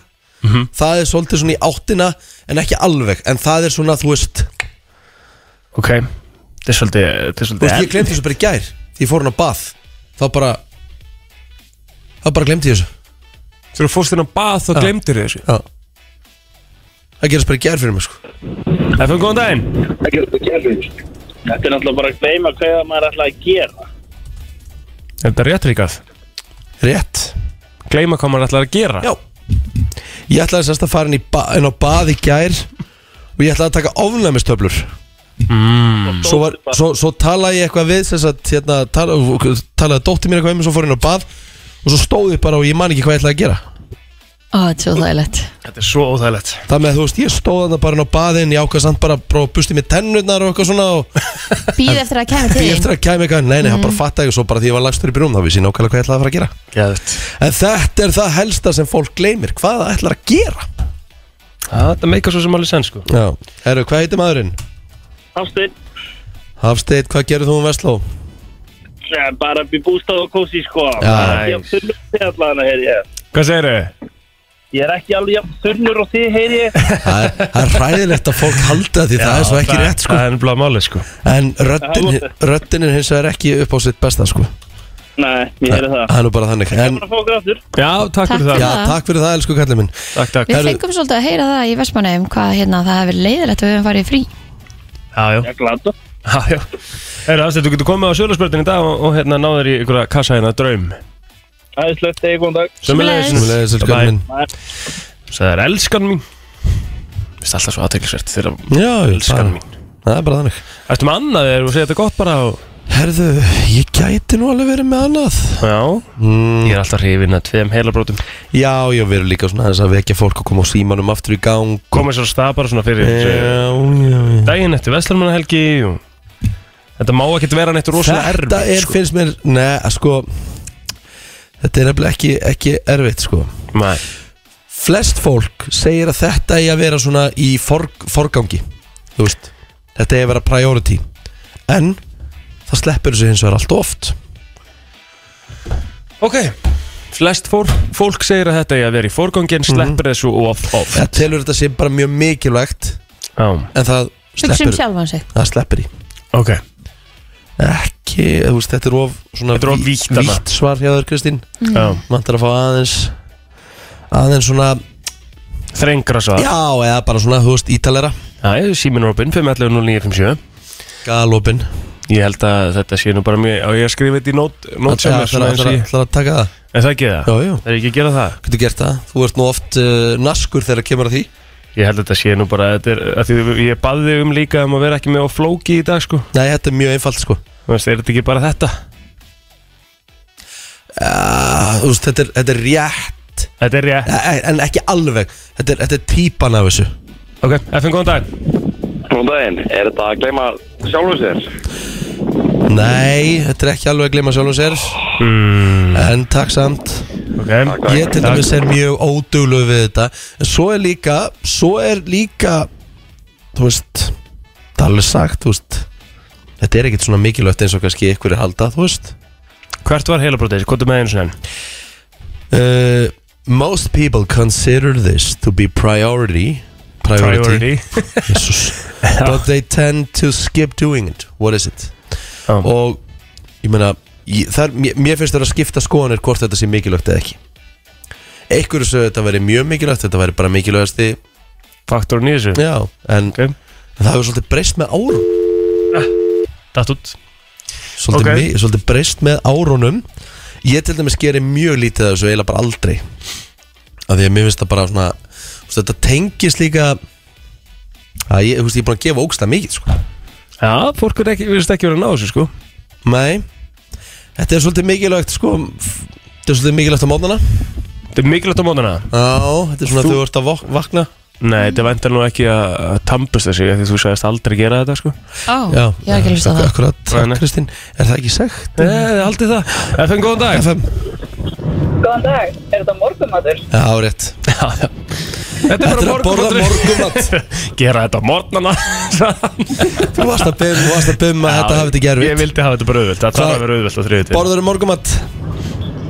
Það er svolítið svona í áttina En ekki alveg, en það er svona, þú veist Þú
Ok Þetta er svolítið Þetta er
veist, ég
svolítið
glemdi þessu bara í gær Því ég fór hann á bað Þá bara Þá bara glemdi ég þessu
Þegar þú fórst inn á bað þá glemdir þessu
Já Það gerast bara í gær fyrir mig sko
FM, góðan daginn
Þetta er náttúrulega bara að gleyma hvað maður ætlaði að gera
Er þetta rétt ríkað?
Rétt
Gleima hvað maður ætlar að gera
Já Ég ætlaði sérst að fara inn, í ba inn á bað í gær Og ég ætlaði að taka ofnæmistöflur mm. svo, var, svo, svo talaði ég eitthvað við Sess að hérna, tala, talaði dóttir mér eitthvað um og Svo fór ég inn á bað Og svo stóð ég bara og ég man ekki hvað ég ætlaði að gera
Ó, þetta er svo þægilegt
Þetta er svo óþægilegt
Það með að þú veist, ég stóð þarna bara inn á baðin Ég ákvað samt bara að prófa að busti mér tennurnar og eitthvað svona Og
Býð eftir að kemur til
því
þín
eftir að kæmi eitthvað Nei, nei, hann bara fatta ekki Svo bara því ég var lagstur í byrjum Þá vissi ég nákvæmlega hvað ég ætlaði að fara að gera
Gæðut
En þetta er það helsta sem fólk gleymir Hvað það ætlar að gera
Þetta meikar svo sem alveg senn sko
Já, herru, hvað heitir maðurinn?
Hafstinn,
Hafsteit, hvað gerir þú um Vestló?
eh, bara upp í bústað og kósi sko
Já.
Ég er þunnur allan að heyri ég
Hvað segir þau?
Ég er ekki alveg jafn þunnur og þið heyri ég
Það er, það er ræðilegt að fólk halda því það er svo ekki rétt sko
Það er blá málið sko
En röddin,
Já,
röddin er hins vegar ekki upp á sitt besta sko
Nei, ég heyri það
Það er nú bara þannig en,
Bara fókur aftur
Já, takk fyrir það
Já, takk fyrir það elsku kallið minn
Takk, takk
Við
Herru-
fengum svolítið að heyra það í Vestmannheim hvað hérna, það hefur leiðilegt að við höfum farið í frí
Já, já
Ég er glad
Já, já Herra, Hafsteinn, þú getur komið á sjölusbjörnin í dag og, og hérna náður í ykkur kassa hérna draum
Æðislegt, eða góðan dag
Sömuleiðis.
Sumulegis elsku
Bye-bye.
kallið minn
Það er elskan mín Vist alltaf svo aðteglisvert þegar
Já, jú,
elskan
það,
mín
það er bara þannig
Ertu með annað þegar þú segir þetta gott bara og...
Herðu, ég gæti nú alveg verið með annað
Já
mm,
Ég er alltaf hrifin að tveim heilabrótum
Já, ég verið líka svona aðeins að vekja fólk og koma á símanum aftur í gang
Komið sér á stað bara svona fyrir yeah.
Já, já, já
Daginn eftir Vestlarmannahelgi og... Þetta má ekkert vera neitt rosalega
Þetta
erfið
er,
sko.
finnst mér, neða, sko Þetta er nefnilega ekki, ekki erfitt, sko
Nei.
Flest fólk segir að þetta eigi að vera svona í forg, forgangi Þú veist, þetta eigi að vera priority En það sleppur þessu hins vegar allt of oft
Ok Flest fór, fólk segir að þetta er að vera í forgangin sleppir þessu of of
Það telur þetta sé bara mjög mikilvægt
Já,
En það
Hugsa um
sleppur,
sjálfan sig
það sleppur í
ok
Ekki, þú veist, þetta er of svona
Þetta er of
ví-
vítt þarna.
vítt svar hjá þér, Kristín
Já.
Vantar að fá aðeins Aðeins svona,
Þrengra svo
já, eða bara svona, þú veist, ítalera
Já, síminn Robin, 511-0957
Galopin
Ég held að þetta sé nú bara mjög Á ég að skrifa þetta í nót, nót sem er svona
Það
eins og ég
ætlar að taka það
Er það ekki það?
Já, já,
Það er ekki að gera það
getur gert það Þú ert nú oft uh, naskur þegar kemur að því
Ég held að þetta sé nú bara Þetta er að því ég baði þig um líka um að vera ekki með á flóki í dag sko
Nei, þetta er mjög einfalt sko
Þú veist, er þetta ekki bara þetta?
uh, Þú veist, þetta er, þetta er rétt
Þetta er ég
e- En ekki alveg Þetta er, þetta er típan af þessu
Ok, FN góðan dag
Góðan daginn, er þetta að gleyma sjálfum sér?
Nei, þetta er ekki alveg að gleyma sjálfum sér En takk samt
Ok
Ég til
Takk.
dæmis er mjög óduglu við þetta En svo er líka Svo er líka Þú veist, það er alveg sagt Þú veist, þetta er ekkit svona mikilvægt eins og kannski ykkur er halda, þú veist
Hvert var heilabrótið? Hvað er með einu svona enn?
Uh, most people consider this to be priority priority, Jesus. but they tend to skip doing it what is it
Já.
og ég meina ég, þar, mér, mér finnst það að skipta skoðanir hvort þetta sé mikilvægt eða ekki einhverju sögðu þetta væri mjög mikilvægt þetta væri bara mikilvægasti
Faktorinn í þessu
já, en
Ok.
það hefur svolítið breyst með árum
Datt út
svolítið,
Ok.
okay. svolítið breyst með árunum ég til dæmis gerir mjög lítið af þessu eiginlega bara aldrei af því að mér finnst það bara svona þú veist, þetta tengist líka að ég, þú veist, ég er búin að gefa ógsta mikið sko.
Já, fólk er ekki, við veist ekki verið að ná þessu sko
nei, þetta er svolítið mikilvægt sko, f- þetta er svolítið mikilvægt á mótnana
Þetta er mikilvægt á mótana
Já, þetta er svona
Þú-
þú ert að vok- vakna
Nei, þetta vendar nú ekki að að tampast þessu Því þú sagðist aldrei gera þetta sko
Ó, ég hef ekki hlust að
ak-
það
Akkurat,
Nei, nei.
takk Kristín Er það ekki sagt?
Nei, aldrei það FM, góðan dag
FM
Góðan dag, er þetta morgumadur?
Já, á rétt
Já, já. Þetta er
Þetta er
bara
að borða morgumat
Gera þetta á morgnana
Þú varst að byrja, þú varst að byrja að þetta hafi þetta gerfið
Ég vildi hafa þetta bara auðvöld Það
Hvað-
þarf að vera auðvöld á þriðið til
Borður morgumat?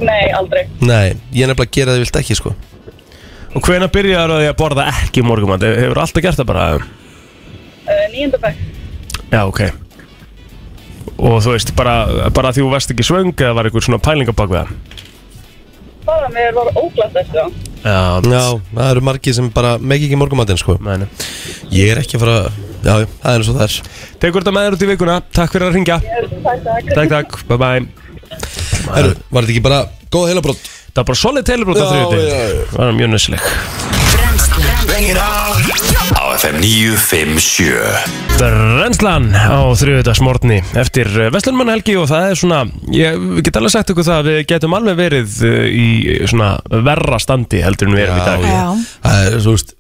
Nei, aldrei.
Nei, ég er nefnilega að gera það vilt ekki sko
Og hvena byrjar að því að borða ekki morgumann Hefur alltaf gert það bara
Uh, Nýjöndabæk?
Já, ok Og þú veist, bara, bara því þú varst ekki svöng Eða var einhver svona pælingabak við það
Bara, mér var óglatt eftir það.
Já,
Já, það eru margir sem bara megi ekki morgumatinn sko
meni
Ég er ekki að fara Já, já, það er eins og það er
Tekur þetta með þér út í vikuna Takk fyrir að ringja
Takk, takk.
Takk, takk, bye bye
Herru, var þetta ekki bara góð heilabrótt?
Það var bara solid telebrót á
Já,
þriðið
já, já.
Það var mjög nössileg
á FM 957
Brennslan á þriðudagsmorni eftir Vestlunmannahelgi og það er svona, ég get alveg sagt ykkur það að við getum alveg verið eh, í svona verra standi heldur en við erum í dag
Já.
ég, það er, þú veist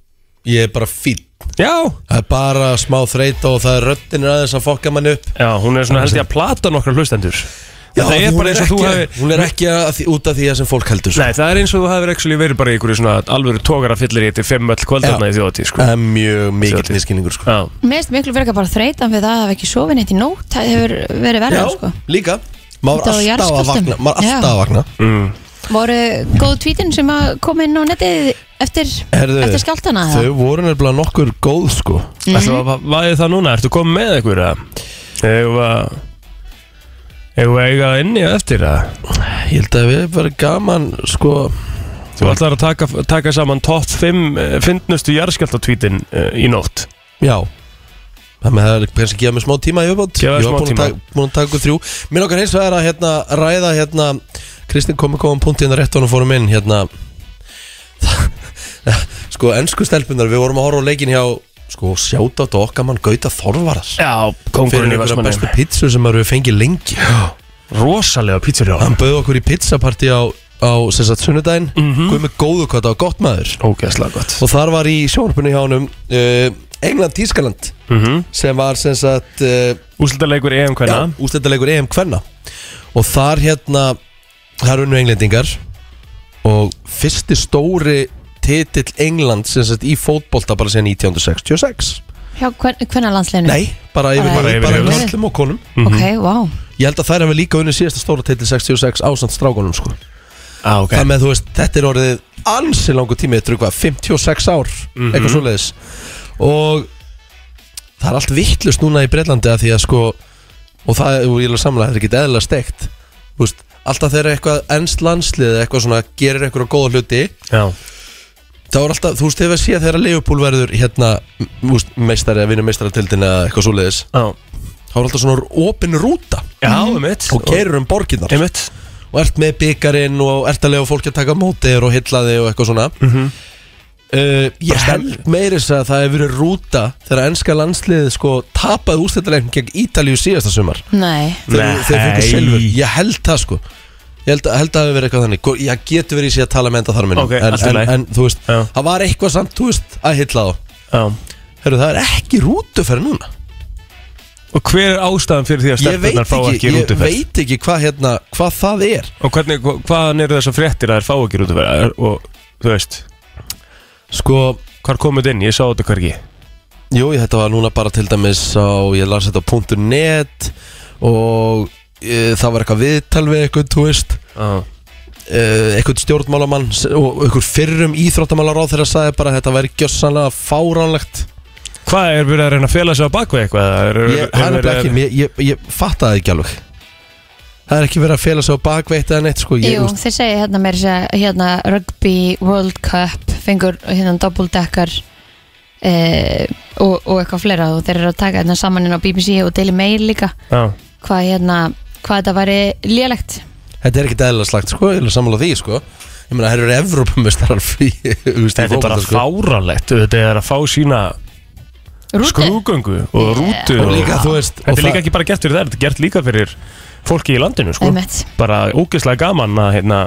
Ég er bara fín
Já,
Það er bara smá þreita og það er röddin er aðeins að fokka mann upp
já, hún er svona held ég að plata nokkra hlustendur
Já,
Það
því
er
hún
bara eins og þú
ekki-
hefur
Hún er ekki að, því- út af því að sem fólk heldur sko.
Nei, það er eins og þú hefur actually verið bara í einhverju svona alvöru tókara fyllir í þetta fimm öll kvöldarna
Já.
í þjóðatíð sko.
Það er mjög mikill
Þjóðhátíð.
miskinningur sko.
Já,
Mér finnst miklu verið bara þreytan fyrir það að hafa ekki sofið neitt í nótt Það hefur verið verið sko
líka Maður
Þetta var
er alltaf að
jarðskjálftum.
vakna Maður er alltaf
Já.
að vakna
Voru góð tvítin sem að koma inn á netið eftir,
Herðu,
eftir skjáltana
Þau voru nefnilega nokkur góð sko
mm -hmm. Hvað er það núna? Ertu komið með einhverju eða? Eigum við að- eigum við að eiga það inni eftir að
Ég held að við verðum gaman sko
Þú ætlar að taka, taka saman topp 5 uh, fyndnustu jarðskjáltatvítin uh, í nótt
Já Þannig að það er kannski að gefa mig smá tíma í uppátt Ég
Gefa þér
var
smá
búin að,
tíma.
taka, búin að taka ykkur þrjú Mér okkar eins vegar að hérna, ræða hérna Kristinn komið góðan punkt hérna rétt og hann fórum inn hérna Sko, ensku stelpunar, við vorum að horfa á leikin hjá Sko, sjáta á okkar mann Gauta Þorvaras
Já,
Fyrir
kongurinn í
einhverja bestu
Vestmannaeyjum
pítsu sem maður hefur fengið lengi
Rosalega pítsur hjá
Hann bauð okkur í pizzapartí á, á sem sagt, sunnudaginn mm
Mhm.
-hmm. Guð með góðu hvað það var gott maður
Ógeðslega gott
Og þar var í sjónarpunni hjá honum uh, England Tískaland
mm -hmm.
sem var sem sagt uh,
Úslitaleikur EM hverna
ústættilegur EM E Kvenna og þar hérna þar unnu englendingar og fyrsti stóri titill England sem sagt í fótbolta bara síðan 1966
Hjá hvernig landsleginu?
Nei, Mhm. bara yfir,
Bara
bara
yfir
yfir, bara
höfuð.
yfir öllum og konum
Mhm.
Ok, wow
Ég held að þær hefur líka unni síðasta stóra titill 66 ásamt strákunum sko
ah, okay.
Þannig að þú veist, þetta er orðið ansi langu tími, þetta er eitthvað 56 ár, eitthvað svoleiðis og það er allt vittlust núna í Breitlandi að því að sko og það, og ég er samlega, þetta er ekki eðlilega steikt þú veist, alltaf þegar eitthvað ennst landslið eða eitthvað svona, gerir eitthvað góða hluti
Já,
þá er alltaf, þú veist, hefur að sé þegar Leopold verður hérna, m- þú veist, meistari að vinna meistaratildin eða eitthvað svoleiðis,
já,
þá er alltaf svona opin rúta
já einmitt
og gerir um borginnar
Einmitt
og ert með byggarinn og ert að lega fólki að taka mótið og hylla þig og eitthvað svona
Mhm.
uh, ég held meiri þess að það hefur verið rúta þegar ennska landsliðið sko tapaði ústættilegnum gegn Ítalíu síðasta sumar
Nei,
þegar þegar þeir
Nei.
fengur silfur, ég held það sko ég held, held að það hefur verið eitthvað þannig Gó- ég getur verið í sig að tala með enda þar minni
Ok,
en,
allt í
en,
lagi.
en þú veist,
Já.
það var eitthvað samt þú veist, að hylla þá
já.
Heru, það er ekki rútuferð núna
Og hver er ástæðan fyrir því að
ég veit
stelpunar fá
ekki,
ekki
ég
rútuferð?
veit ekki hvað, hérna, hvað það er
Og hvernig, hva- hvaðan eru þessar fréttir að þær fá ekki rútuferð? Er- Og þú veist,
sko,
hvar komuð þetta inn? Ég sá þetta hvergi
Jú, ég- þetta var núna bara til dæmis á, ég las þetta á .net og e, það var eitthvað viðtal við eitthvað, þú veist
Já,
e, eitthvað stjórnmálamann s- og eitthvað fyrrum íþróttamálaráð þegar sagði bara að þetta væri gjössanlega fáránlegt
Hvað er verið að reyna að fela sig á bakveg eitthvað? Er, er,
Ég, hann er bara ekki, ég, ég, ég fatta það ekki alveg Það er ekki verið að fela sig á bakveitt eða neitt, sko ég,
jú,
úst,
þeir segja hérna meir sér hérna Rugby World Cup fengur hérna doppeldekkar eh, og, og eitthvað fleira og þeir eru að taka hérna saman inn á BBC og Daily Mail líka
Já,
hvað hérna, hvað þetta væri lélegt
Þetta er ekki dæðilega slagt, sko, ég er sammála því, sko Ég meina, það eru Evrópumestarar frí, þú veist, í
þetta er bara
fótbolta, sko.
fáralegt Þetta er að fá sína
Rúti,
Sko, skrúgöngu og rútu
Og líka, þú veist og
Þetta er
það-
líka ekki bara gert fyrir þær, þetta er gert líka fyrir fólki í landinu sko.
einmitt
bara ógeðslega gaman að hérna,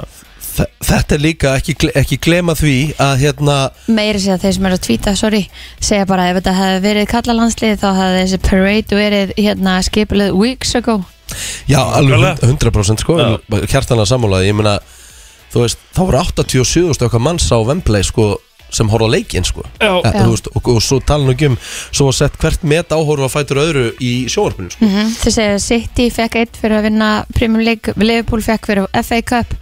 þe- þetta er líka ekki, gle- ekki glema því að hérna
meiri sér að þeir sem eru að tvíta, sorry segja bara ef þetta hefði verið kallalandslið þá hefði þessi parade verið hérna skipilið weeks ago
Já, alveg
Nákvæmlega.
100% sko Hjartanlega sammála, ég meina Þú veist, þá voru 87.000 okkar manns á Vembley sko sem horfa leikinn sko
Já.
Eh,
Já.
þú veist, og, og svo tala nú ekki um svo var sett hvert met áhorfa fætur öðru í sjónvarpinu sko.
mm þeir segja að City fekk eitt fyrir að vinna Premier League, Liverpool fekk fyrir FA Cup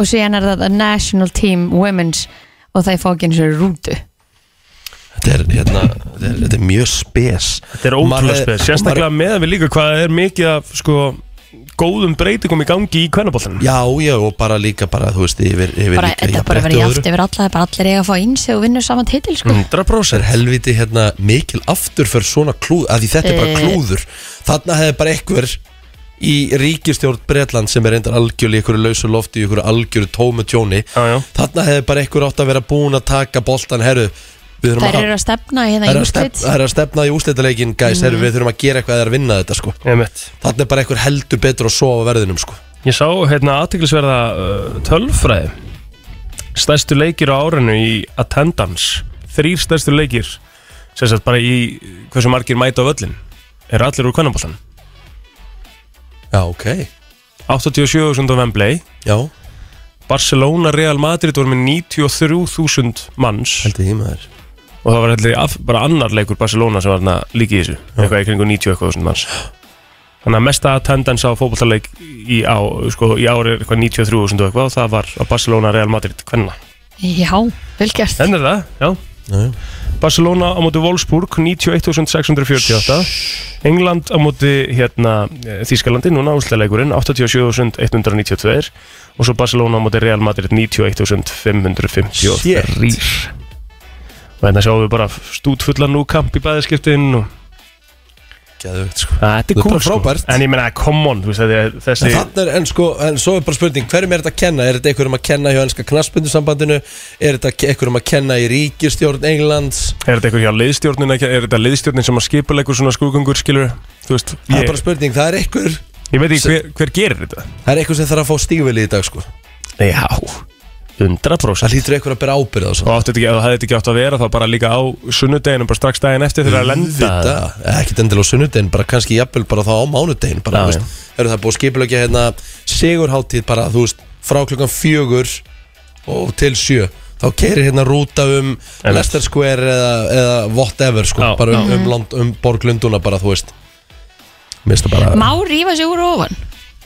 og síðan er þetta National Team Women's og það er fókinn sér rútu
þetta, er, hérna, þetta, er, þetta er mjög spes
Þetta er ótrúlega spes, sérstaklega meðan við líka hvað það er mikið af sko góðum breytingum í gangi í kvennaboltanum
Já, já, og bara líka bara, þú veist, yfir, yfir
bara,
líka
þetta er bara verið
jafnrétti og
játt
öðru. Mm.
yfir alla, það er bara allir eiga að fá eins og vinnur saman titil sko
100% er helviti hérna mikil aftur fyrir svona klúð, af því þetta er bara
Eh.
klúður þarna hefði bara einhver í ríkistjórn Bretland sem er reyndar algjörlega í einhverju lausu lofti, í einhverju algjöru tómu tjóni,
Já, já.
þarna hefði bara einhver átt að vera búin að taka boltan herru, við þurfum
þær
að
eru að stefna í Mhm. hérna
það er að
yngslit
stefna- það er að stefna í úslitaleikin guys, herru, við þurfum að gera eitthvað eða að vinna þetta sko.
Einmitt.
þarna er bara einhver heldur betur að sofa verðinum sko.
Ég sá hérna aðtiklisverða uh, tölfræði Stærstu leikir á árinu í attendance Þrýr stærstu leikir sem sagt bara í hversu margir mæta á völlin er allir úr kvennaboltanum
já, ok,
87.000 á Wembley
já,
Barcelona Real Madrid voru með 93.000 manns
heldur ég maður
og það var heldur af, bara annar leikur Barcelona sem var þarna líka í þessu eitthvað í kringu 90 eitthvað þúsund manns þannig að mesta tendens á fótballtaleik í, á, sko, í ári er eitthvað 93.000 og eitthvað og það var á Barcelona Real Madrid hvenna,
já, vel gert
enn er það, já
Já, já.
Barcelona á móti Wolfsburg 91.648 England á móti hérna, eh, Þýskalandi, núna úrslaleikurinn 87.192 og svo Barcelona á móti Real Madrid 91.553
Shit.
og hérna sjáum við bara stútfullan nú kamp í bæðiskiptin og
Geðveikt, sko.
Þetta
er bara frábært.
En ég meina, come on, þú veist, þetta er- þessi
En þarna er, en sko, en svo er bara spurning Hverjum er þetta að kenna? Er þetta einhverjum að kenna hjá ennska knaspundusambandinu? Er þetta ke- einhverjum að kenna í ríkistjórn Englands?
Er þetta eitthvað hjá liðstjórnin, ekki? er þetta liðstjórnin sem að skipa leikur svona skrúkungur, skilur Þú veist,
Það er
ég,
bara spurning, það er einhver
ég veit ekki hver, hver gerir þetta
Það er einhver sem þarf að fá stígvili í dag, sko
Já, 100%
Það hlýtur einhver að bera ábyrð á
Og
svo
átti þetta ekki, ef það hefði þetta ekki átt að vera þá bara líka á sunnudeginum, bara strax daginn eftir þegar að lenda
Þetta, eh, ekkert endilega á sunnudegin Bara kannski jafnvel bara þá á mánudegin Bara,
Já,
þú veist, eru það búið að skipulegja hérna Sigurháttíð bara, þú veist, frá klukkan fjögur Og til sjö Þá keirir hérna rúta um
Einmitt.
Leicester Square eða, eða whatever, sko
Já,
Bara um, um, land, um borglunduna bara, þú veist Mér finnst það bara
má rífa sig úr ofan,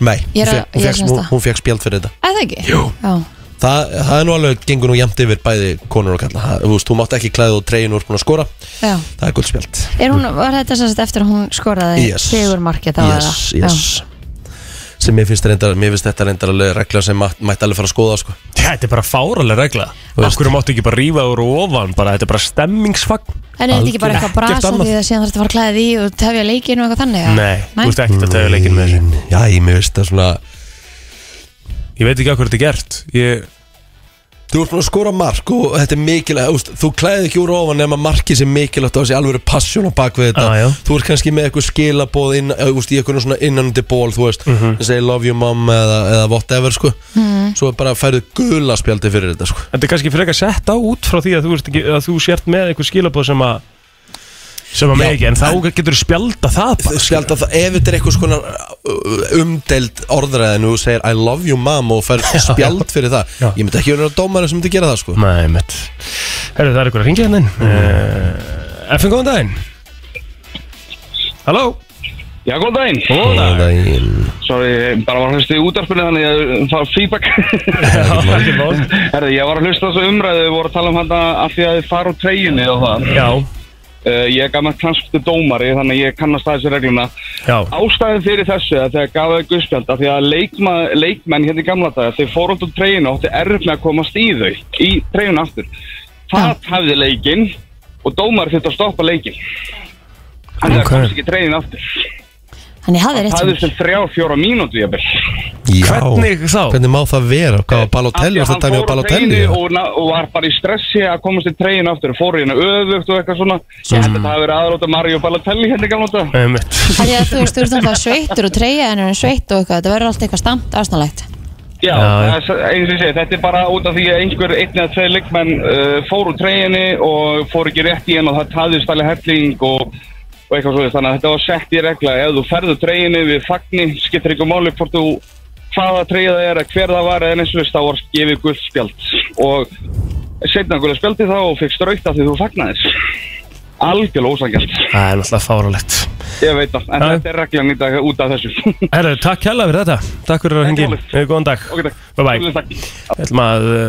Nei,
Ég
hún
er að-
fekk, hún,
ég er að
fekk, hún,
semsta.
hún fekk spjald fyrir þetta
eða ekki? Jú. já,
Það, það er nú alveg, gengur nú jæmt yfir bæði konur og kalla Það- Þú veist, þú mátt ekki klæða og tregin úr búin að skora
já
Það er guldspjald
Er hún, var þetta sem sagt eftir að hún skoraði
Yes.
sigurmarkið á
Yes,
það?
yes Sem mér finnst, reyndar, mér finnst þetta reyndar alveg regla sem mætt, mætti alveg fara að skoða sko.
Þetta er bara fáraleg regla
Þú veist.
Af hverju máttu ekki bara rífa úr og ofan, bara þetta er bara stemmingsfagn
En er þetta ekki bara
Algjörlega.
eitthvað brasa
Ekkert annað.
því að síðan þarf þetta að fara að klæða í og tefja leikinu og eitthvað þannig? eða?
Nei, þú veist ekkert að tegja leikin með þessu
Mm, Já, ég mér finnst það svona
Ég veit ekki af hverju þetta er gert Ég,
Þú ert búin að skora mark og þetta er mikilvægt úst, Þú klæði ekki úr ofan nema markið sem mikilvægt og þessi alvöru passjón á bakvið þetta
Ah, já.
Þú ert kannski með eitthvað skilabóð inn, úst, í eitthvað svona innandi ból þú veist, mm
Mhm.
-hmm. segi love you mom eða, eða whatever sko. svo bara færðu gula spjaldi fyrir þetta sko.
Þetta er kannski frekar sett á út frá því að þú, ert ekki, að þú sért með einhver skilabóð sem að sem að
Já,
með ekki, en þá getur þú spjálta það bara
Spjalda það, ef þetta er eitthvað svona umdeild orðræðin og þú segir I love you mom og færðu spjald fyrir það
Já.
ég myndi ekki vera dómari sem myndi gera það sko.
Nei, mitt Herru, það er einhver að hérna ringja hennin uh, FN, góðan daginn Halló
Já, góðan daginn.
Góðan daginn
Sorry, ég bara var að hlusta í útarpinu þannig að ég fá feedback.
Já, ekki mál.
Herði, ég var að hlusta þessu umræðu, við vorum að tala um hann að því að þið fara úr treyjunni og það.
Já,
Uh, ég er gammal knastu dómari, þannig að ég kannast að þessu regluna.
já,
Ástæðin fyrir þessu að þegar gaf þau guðspjald, að því að leikma, leikmenn hérna í gamla daga, þeir fóru út úr treyjunni og átti erf með að komast í þau, í treyjunni aftur. Það hafði leikinn og dómari þurfti að stoppa leikinn. Þannig
Ok.
að það komst ekki treyjunni aftur.
Þannig hafði rétt
Það
sem
er sem þrjár, fjóra mínútu, ég
Já.
Hvernig þá?
Hvernig má það vera? Hvað var Balotelli? Var
Af því að
þetta dæmi á
hann fór á
Balotelli?
treynu og, na- og var bara í stressi að komast í treyinu aftur fór í hennu öðvögt og eitthvað svona ég held að það hafi verið aðróta Mario Balotelli hérna í gamla þetta
Nei, mitt
Þannig að þú veist, þú ert alltaf sveittur og treyja en er sveittur og eitthvað, þetta verður alltaf eitthvað stamt aðsnálegt.
Já,
Já,
það
já.
er s- eins og ég segi, þetta er bara út af því að einhver einn eða tvei leikmenn uh, fór úr treyjunni og fór ekki rétt í henn og það taðist alveg helling og, og eitthvað svo þannig að þetta var sett í regla ef þú ferður treyjunni við fagni skiptir ykkur máli hvort þú hvaða treyja það er að hver það var eða eins og veist þá var gefið guldspjald og setna guldspjaldi þá og fekk strauta því þú fagnaðis algjörlega ósangjald
Það er náttúrulega fáralegt
ég veit það, en
Já.
þetta er reglan í dag út af þessu
Herru, takk hella fyrir þetta Takk fyrir að
Ekki
hengi
málið.
Góðan dag
ok, takk
Bye bye
Takk.
Við ætlum að uh,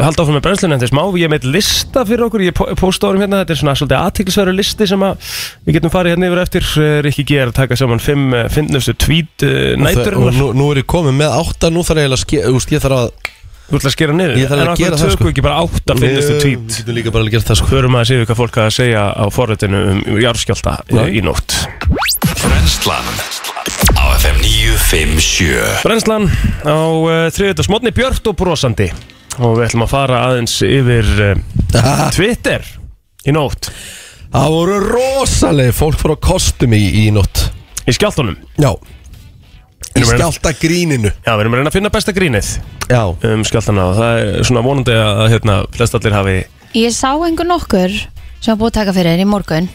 halda áfram með brennslunni en þess má Ég er með lista fyrir okkur Ég posta árum hérna Þetta er svona svolítið aðtiklisverðu listi sem að Við getum farið hérna yfir eftir uh, Rikki G er að taka saman Fimm uh, finnustu tweet uh,
um
nætur
og nú, nú er ég komið með átta Nú þarf ég eiginlega að ske, úst, ég þarf að
Þú ætla að skera niður
Ég þarf
En
að
okkur
gera það,
tökum
sko.
við ekki bara átta finnustu
Við
tweet
getum líka bara að gera það sko
Förum að séu hvað fólk að segja á forritinu um jarðskjálta uh, í nótt
Brenslan Á FM 957
Brennslan á uh, þriðutas mótni Björnt og brosandi og við ætlum að fara aðeins yfir uh, Twitter í nótt
Það voru rosaleg fólk fór að kostum í, í nótt
í skjáltunum
Já Í
Erum við-
skjálta gríninu
Já, við erum að reyna að finna besta grínið
Já
um skjáltana og það er svona vonandi að hérna, flest allir hafi
Ég sá einhver nokkur sem var búið að taka fyrir þér í morgun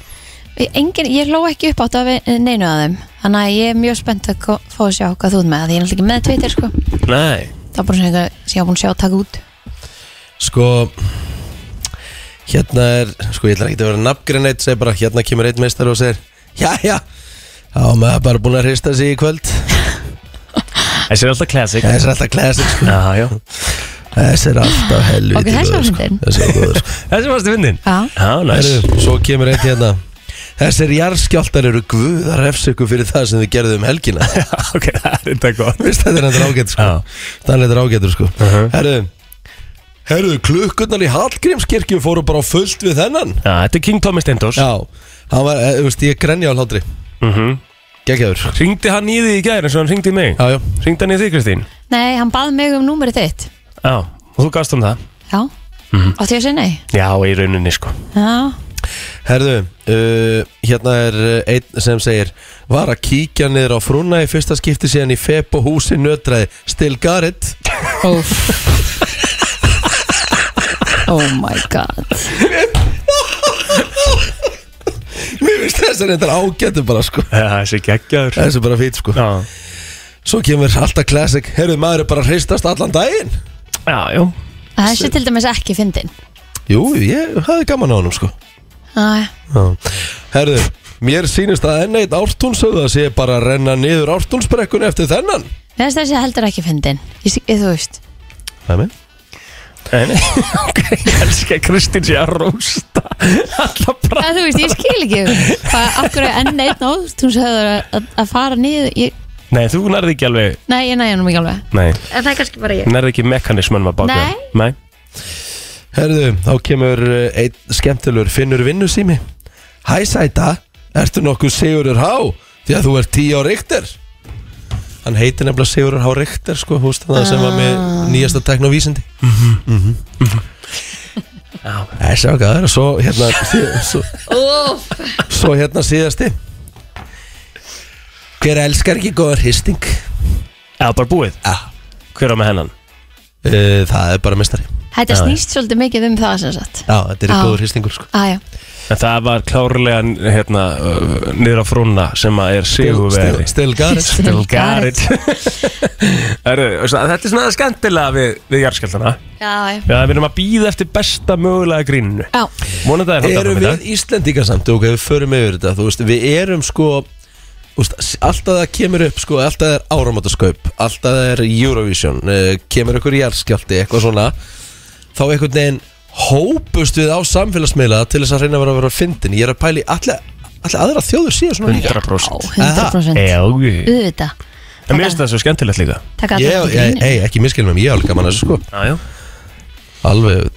Engin, ég hló ekki upp átt af neinu að þeim þannig að ég er mjög spennt að ko- fá að sjá hvað þú ert með því ég er alltaf ekki með Twitter sko
Nei
það er bara svona einhver sem ég var búin að sjá að taka út
Sko Hérna er Sko ég ætla ekki að vera nafngrein eitt Segir bara hérna kemur einn meistar og segir Jæja Þá er maður bara búin að hrista sig í kvöld
Þessi er alltaf classic
Þessi er alltaf classic sko
Já, já
Þessi er alltaf helviti
Ok, þessi var
góður, sko.
fyndin.
Þessi er góður sko
Þessi varstu vindin
Já.
Já, næs
Heru, Svo kemur einn hérna Þessir jarðskjáltar eru guðar refsöku fyrir það sem þið gerðu um helgina
Ok, það er þetta gott
Vist þetta er hendur ágætt sko
Já.
Þannig þetta er ágættur sko
Uh-huh.
Herru Herru, klukkurnar í Hallgrímskirkju fóru bara á fullt við þennan
Já, þetta er King Tommy Stendors
Já, hann var, eh, þú veist, ég grenja á hlátri
mm -hmm.
Gekkjaður
Ringdi hann í því í gæri eins og hann ringdi í mig
Já, já
Ringdi hann í því, Kristín
Nei, hann bað mig um númerið þitt
Já, og þú gafst hann það
Já,
Mhm.
átti ég að segja nei
Já, í rauninni sko
Já,
Herru, uh, hérna er eh, einn sem segir Var að kíkja niður á frúna í fyrsta skipti síðan í feb og húsi nötraði Still got it
óf Oh my god
Mér finnst þessar þetta er ágættur bara sko
Já, þessi geggjaður
Þessi er bara fýt sko
Já,
Svo kemur alltaf classic Herðu maður er bara að hristast allan daginn
já, já
Þessi til dæmis ekki fyndin
Jú, ég hafði gaman á honum sko
Æ,
Já. Herðu, mér sýnist að enn eitt ártúnsöða sé bara að renna niður ártúnsbrekkun eftir þennan
Mér finnst þessi heldur ekki fyndin Ég, sé- þú veist
Það er mér
En, ok, ég elska að Kristín sé að rósta Alla bara
að þú veist, ég skil ekki hvað akkur er enn einn áðurstúnshöður að, að fara niður ég,
Nei, þú nærði ekki alveg
nei, ég næja hann ekki alveg
Nei,
en það er kannski bara ég
nærði ekki mekanismunum að baka
Nei.
Nei
Herðu, þá kemur eh, einn skemmtilegur Finnur vinnusými Hæ sæta, ertu nokkuð Sigurur Há? Því að þú ert tíu á reyktir Hann heitir nefnilega Sigurur Há reyktir sko, húst það sem var með nýjasta teknovísindi Mhm, mhm Þessi var gæður, svo hérna sí- svo, svo hérna síðasti Hver elskar ekki góðar hristing?
Eða bara búið
Já.
Hver á með hennan?
Eh, Það er bara mestari
þetta
Já,
snýst svolítið mikið um það sem sagt
Já, þetta er
Já.
góður hristingur sko
aðja,
En það var klárlega hérna uh, niður á frúna sem að er sigurveri
Stilgar
Still got it Herru, svona- Þetta er svona skemmtilega við, við jarðskjaldana
já, já,
Já, við erum að býða eftir besta mögulega gríninu
já,
Mónið það er
erum við Íslendingar samt ok, við förum yfir þetta, þú veist, við erum sko þú veist, alltaf það kemur upp sko, alltaf það er áramátasköp alltaf það er Eurovision uh, kemur ykkur jarðskjálti, eitthvað svona þá einhvern veginn hópust við á samfélagsmiðla til þess að reyna að vera að vera fyndin, ég er að pæli allir allir aðra þjóður síðan svona líka
100%
100%
Já, ok.
auðvitað,
En mér finnst það svo skemmtilegt líka
taka
ég,
alltaf
ég,
gríni
ei, ekki miskilnum, ég er alveg gaman að þessu sko
Já, já
alveg,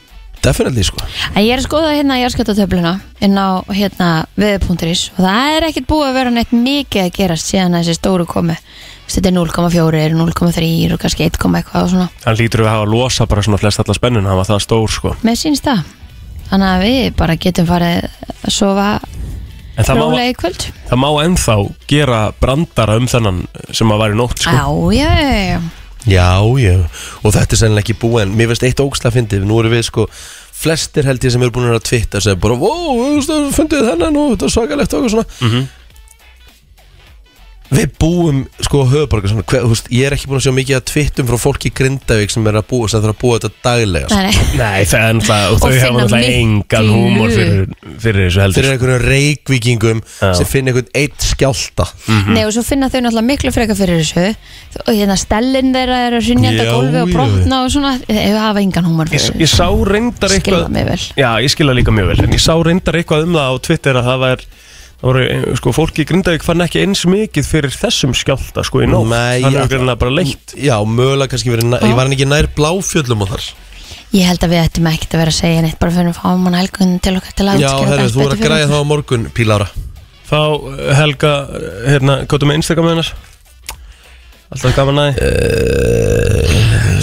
definitely sko
en ég er að skoða hérna jarðskjöldatöfluna inn á hérna viður.is og það er ekkert búið að vera neitt mikið að gerast síðan þessi stóru komi Þú veist, þetta er 0,4, 0,3 og kannski 1, eitthvað og svona
Hann lítur við að hafa að losa bara svona flest alla spennun Hann var það stór sko
Mér sínst það Þannig að við bara getum farið að sofa
En það má,
rólega í kvöld
það má ennþá gera brandara um þennan sem að var í nótt sko
Já, já, já, já
Já, já, og þetta er sennilega ekki búið en mér finnst eitt ógslag fyndið, nú erum við sko flestir held ég sem eru búin að tvitta sem bara, vó, þú veist, þú fundið þennan og þetta er svakalegt og eitthvað svona Við búum sko á höfuborgarsvæðinu, hver- þú veist, ég er ekki búin að sjá mikið að tvittum frá fólki í Grindavík sem er að búa, sem þarf að búa þetta daglega sko.
Nei, nei.
Nei, það er náttúrulega, og
Og
þau
finna
hafa náttúrulega
miklu.
engan húmor fyrir, fyrir þessu heldur
Fyrir einhverjum reikvíkingum
Já.
sem finn einhvern eitt skjálta
Nei, og svo finna þau náttúrulega miklu frekar fyrir þessu og hérna stellin þeirra er að hrynja
Já,
þetta gólfi og
já.
brotna og svona ef hafa engan húmar
Ég,
fyrir
ég sá reyndar
Skil
eitthvað
það mjög vel.
Já, ég skilða líka mjög vel En ég sá reyndar eitthvað um það á Twitter að það var Það voru, eh, sko, fólki í Grindavík fann ekki eins mikið fyrir þessum skjálta, sko, í nótt
Nei,
Þannig
já.
að greinlega bara leitt
Já, mögulega kannski verið, næ, ég var hann ekki nær bláfjöllum á þar
Ég held að við ættum ekkert að vera að segja neitt bara fyrir að fáum hann helgun til okkar til að
Já,
útskýra
herru,
þetta
þú
betur
er að
fyrir
græja
okkur.
þá á morgun, Pílára
Þá, eh, Helga, eh, hérna, hvað er með Instagram hennar? Alltaf gaman að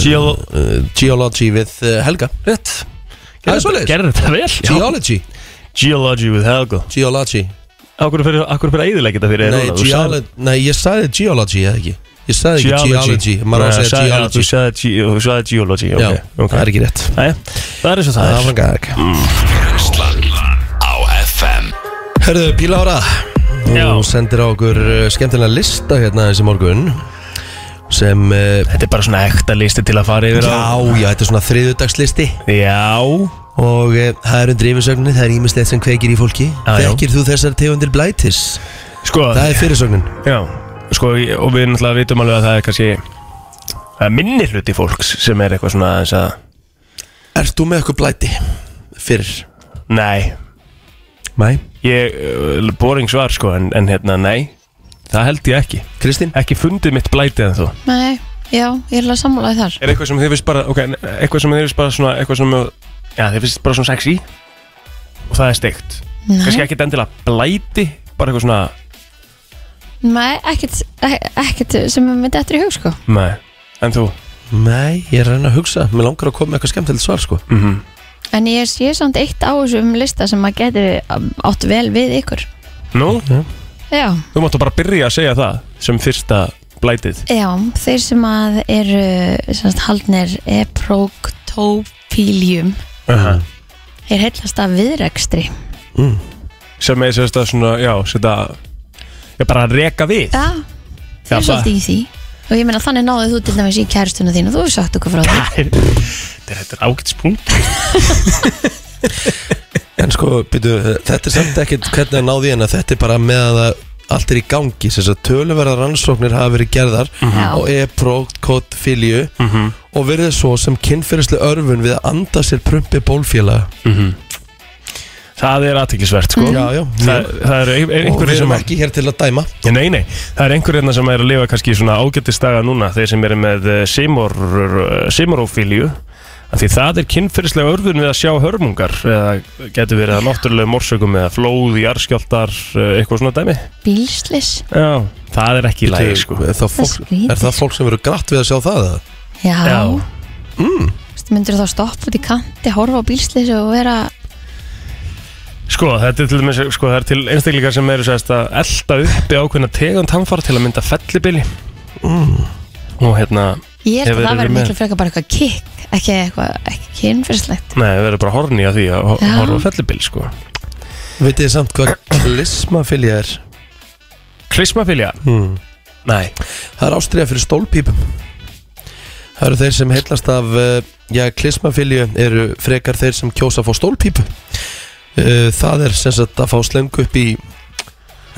því Geo,
uh, Geology við uh, Helga
rétt
Það er svoleiðis.
Gerðu þetta vel já.
Geology
Geology with Helga
Geology
Akkur fyrir, akkur fyrir að eðilegja þetta fyrir
Nei,
Errol, þú sagðir-
geolo nei ég sagði Geology eða ekki Ég sagði ekki Geology Maður á að
Nei,
segja
sagði-
Geology
Þú sagði ge- þú sagði geology, ok,
Já,
ok.
það er ekki rétt
Nei, það er eins og það
Það
er
var gæk
Brennslan á FM
Herðu, Pílára Þú sendir á okkur uh, skemmtilega lista hérna þessi morgun Sem uh,
Þetta er bara svona ekta listi til að fara yfir
Já,
á
já, þetta er svona þriðudagslisti
Já
Og uh, það er undir yfirsögnin Það er ímislegt sem kveikir í fólki
Já, já.
Þekkir þú þessar tegundir blætis?
Sko,
Það er fyrirsögnin
já Sko, ég- og við náttúrulega vitum alveg að það er kannski Það er minni hluti fólks sem er eitthvað svona aðeins að
Ert þú með eitthvað blæti? Fyrir
Nei,
Mæ
ég, uh, boring svar sko, en, en hérna, nei Það held ég ekki
Kristín?
Ekki fundið mitt blætið en þú
Nei, já, ég er alveg að sammála þér þar
Er eitthvað sem þið finnst bara, ok, eitthvað sem þið finnst bara svona Eitthvað sem, já, þið finnst bara svona sexy Og það er steikt Kannski ekki endilega blæti, bara eitthvað svona
Nei, ekkert, ek- ekkert sem við myndi eftir í hug sko
Nei, en þú?
Nei, ég er að reyna að hugsa Mér langar að koma með eitthvað skemmtilegt svar sko
Mm -hmm.
En ég sé samt eitt á þessum lista sem maður geti um, átt vel við ykkur
Nú,
Já,
þú máttu bara byrja að segja það sem fyrsta blætið
já, þeir sem að eru semst, haldnir eproktopíljum er heillast af viðrekstri
sem er sérst að svona, já, sérst að já, bara að reka við
Já, þeir
Já,
eru
það-
svolítið í því Og ég meina þannig náðu þú til dæmis í kærstuna þínu Þú hefur sagt okkur frá því
Þetta er- þetta er ágætspunkt
En sko, byrju, þetta er samt ekkert hvernig að náði en að þetta er bara með að það allt er í gangi sem þess að töluverðar rannsóknir hafa verið gerðar
Já.
og e-prókot filju og verðið svo sem kynferðislu örfun við að anda sér prumpi bólfélaga
Það er aðtiklisvert, sko
Já, já,
Það, það eru
og
ein-
við
einhverjir
erum
sem að,
ekki hér til að dæma
Já, nei, nei, það er einhverjir hérna sem er að lifa kannski í svona ágættistaga núna, þeir sem eru með eh, simor, eh, simorófílju af því það er kynferðislega örfun við að sjá hörmungar eða getur verið að náttúrulega morsökum eða flóð, jarðskjáltar, eh, eitthvað svona dæmi
Bílslis
Já, það er ekki í lagi sko
er, það
Það er
fólk,
skrítið.
er það fólk sem verður grætt við að sjá það? eða?
Já,
Já, Mm.
Þú veist, Myndir þá stoppa út í kanti, horfa á bílslis og vera
sko þetta er til dæmis sko, það er til einstaklingar sem eru sérst að elda uppi ákveðna tegund hamfara til að mynda fellibili
Mm.
og hérna,
Ég held
Hefur
að það
verið
verður
með?
miklu frekar bara eitthvað kikk Ekki eitthvað, ekki kynfyrslegt
nei, við verðum bara horni að því að ho-
Já.
horfa á fellibili sko
Vitið þið samt hvað klismafilja er?
Klismafilja,
Hmm.
nei
Það er ástriða fyrir stólpípum Það eru þeir sem heillast af eh, já, klismafilju eru frekar þeir sem kjósa að fá stólpípu Eh, Það er sem sagt að fá slengu upp í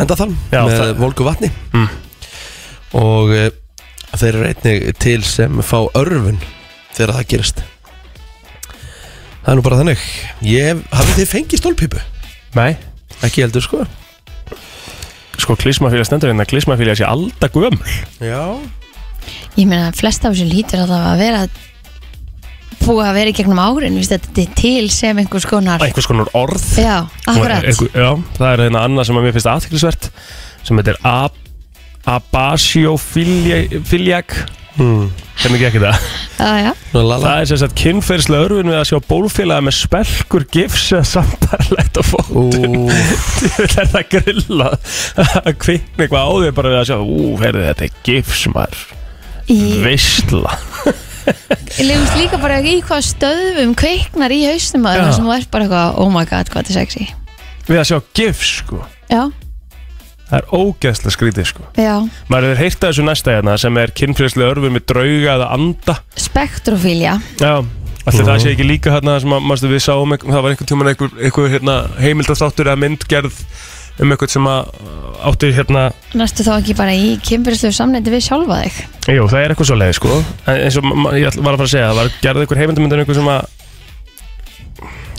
endathalm
Já,
með
það-
volgu vatni
Mm.
og eh, þeir eru einnig til sem fá örfun þegar það gerist Það er nú bara þannig Ég hef, hafið þið fengið stólpípu?
Nei,
Ekki heldur sko
sko klismafilja stendur hérna klismafilja sé alda gömul
Já
Ég meina að flest af þessu lítur að það að vera Búið að vera í gegnum árin Vist þetta er til sem einhvers konar
einhvers konar orð
Já, akkurat
Og einhver- Já, það er hérna annað sem að mér finnst aðtiklisvert sem heitir ab abasiofiliak
Mm.
hmm.
sem ekki ekki það
Já, já.
Nú, la, la.
Það er sem sagt kynferðslega örfun við að sjá bólfélaga með spelkur gifs eða sambarlegt og fótum
Ú.
Þetta er það grilla að kvikna eitthvað á því bara við að sjá Ú, heyrðu þetta er gifs maður
Í-
Veistla
Ég lefumst líka bara í hvað stöðum kveiknar í hausnum að
Já.
það sem þú ert bara eitthvað oh my god, hvað þetta er sexy
Við að sjá gif sko
Já,
Það er ógeðslega skrítið sko
já,
Maður hefur heyrt af þessu næsta hérna sem er kynfriðslega örfum með drauga eða anda
spektrofílja
Já Alltaf það sé ekki líka hérna sem að, manstu, við sáum einhver- það var einhvern tímann einhver, einhver hérna, heimildarþáttur eða myndgerð um eitthvað sem að uh, átti hérna
Næstu þá ekki bara í kynbyrðslu samneiti við sjálfa þig
Jú, það er eitthvað svo leið, sko En eins og ma- ég ætla- var að fara að segja, það var gerðið einhver heimildamynd um einhver sem að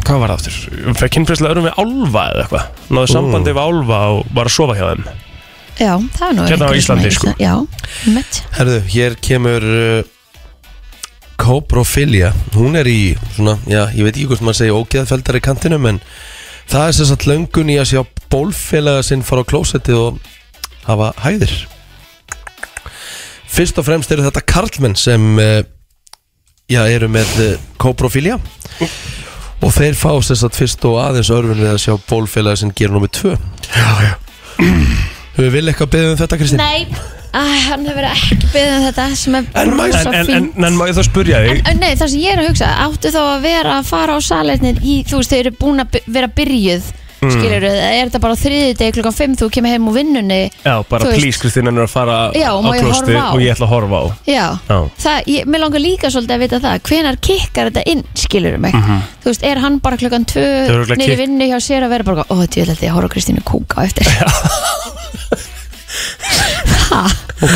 Hvað var það aftur? Fekk kynfræslega örum við álfa eða eitthvað Náðu sambandi við álfa og var að sofa hjá þeim
Já, það er nú
Hérna
einhverjum
á
sem
Íslandi,
er-
sko.
Já, mitt
Herðu, hér kemur uh, Coprophilia Hún er í svona, já, ég veit ekki hvort maður segja ógeðfeldari kantinum en það er sem sagt löngun í að sjá bólfélaga sinn fara á klósettið og hafa hæðir Fyrst og fremst eru þetta karlmenn sem uh, já, eru með uh, Coprophilia og þeir fá sem sagt fyrst og aðeins örfun við að sjá bólfélaga sinn gera nummer 2 Já, já Hefur vil eitthvað beðið um þetta, Kristín?
Nei, ah, hann hefur ekki beðið um þetta sem er
En mæ-
En,
rosa
en, en,
fínt.
en má ég þá spurja
En,
þig
en nei, það sem ég er að hugsa Áttu þá að vera að fara á salernin í, Þú veist, þau eru búin að by- vera byrjuð mm. Skilur þau, er þetta bara á þriði deg klukkan 5 Þú kemur heim úr vinnunni
Já, bara
Þú veist-
please Kristín en er að fara
Já,
á
má ég
klostið
horfa á?
og ég ætla að horfa á
Já,
Já.
það, ég, mér langar líka svolítið að vita það Hvenær kikkar þetta inn, skilur mig Þú veist, er hann bara klukkan 2
eru örugglega
Nýri
kikk-
vinnu hjá sér að vera bara Ó, þetta er þetta, ég horf á Kristínu kúka á eftir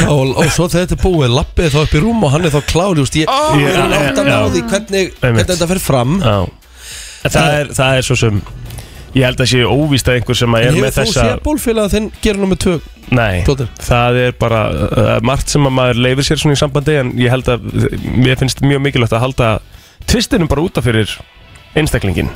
og, og svo þegar þetta er búið lappið þá upp í rúm og hann er þá klári úst, ég, oh, ég er átt að ná því hvernig, hvernig þetta fer fram
Já En það er, það er svo sem Ég held að sé óvíst að einhver sem að er
hefur
með
þú
þessa
séð bólfélaga þinn gera nummer 2
Nei,
Plóter?
það er bara uh, margt sem að maður leifir sér svona í sambandi en ég held að, mér finnst mjög mikilvægt að halda tvistinum bara útaf fyrir einstaklingin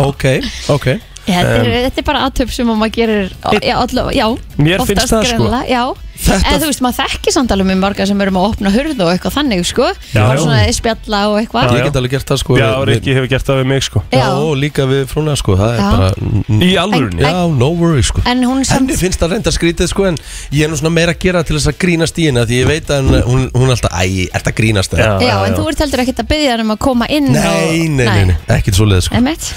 ok, ok
Já, þetta, er, þetta er bara aðtöp sem að maður gerir Já, allavega, já
Mér
oftast
finnst það, sko.
greinilega, Já,
Þetta-
en þú veist, maður þekkir samt alveg með marga sem erum að opna hurð og eitthvað þannig, sko
Já,
Og
já.
svona spjalla og eitthvað
já.
ég get alveg gert það sko
Já,
við-
Rikki hefur gert það við mig sko
já, og líka við frúna sko það er
Já.
bara n-
Í alvörunni?
já, no worry sko
En hún samt
henni finnst það reynda skrítið sko en ég er nú svona meira að gera til þess að grínast í henni af því ég veit að hún, hún, hún er alltaf æ, ert að grínast eða?
Já, en þú ert heldur ekkert að byggja hann um að koma inn
nei, nei, nei, nei, ekkert svo sko
Emmett,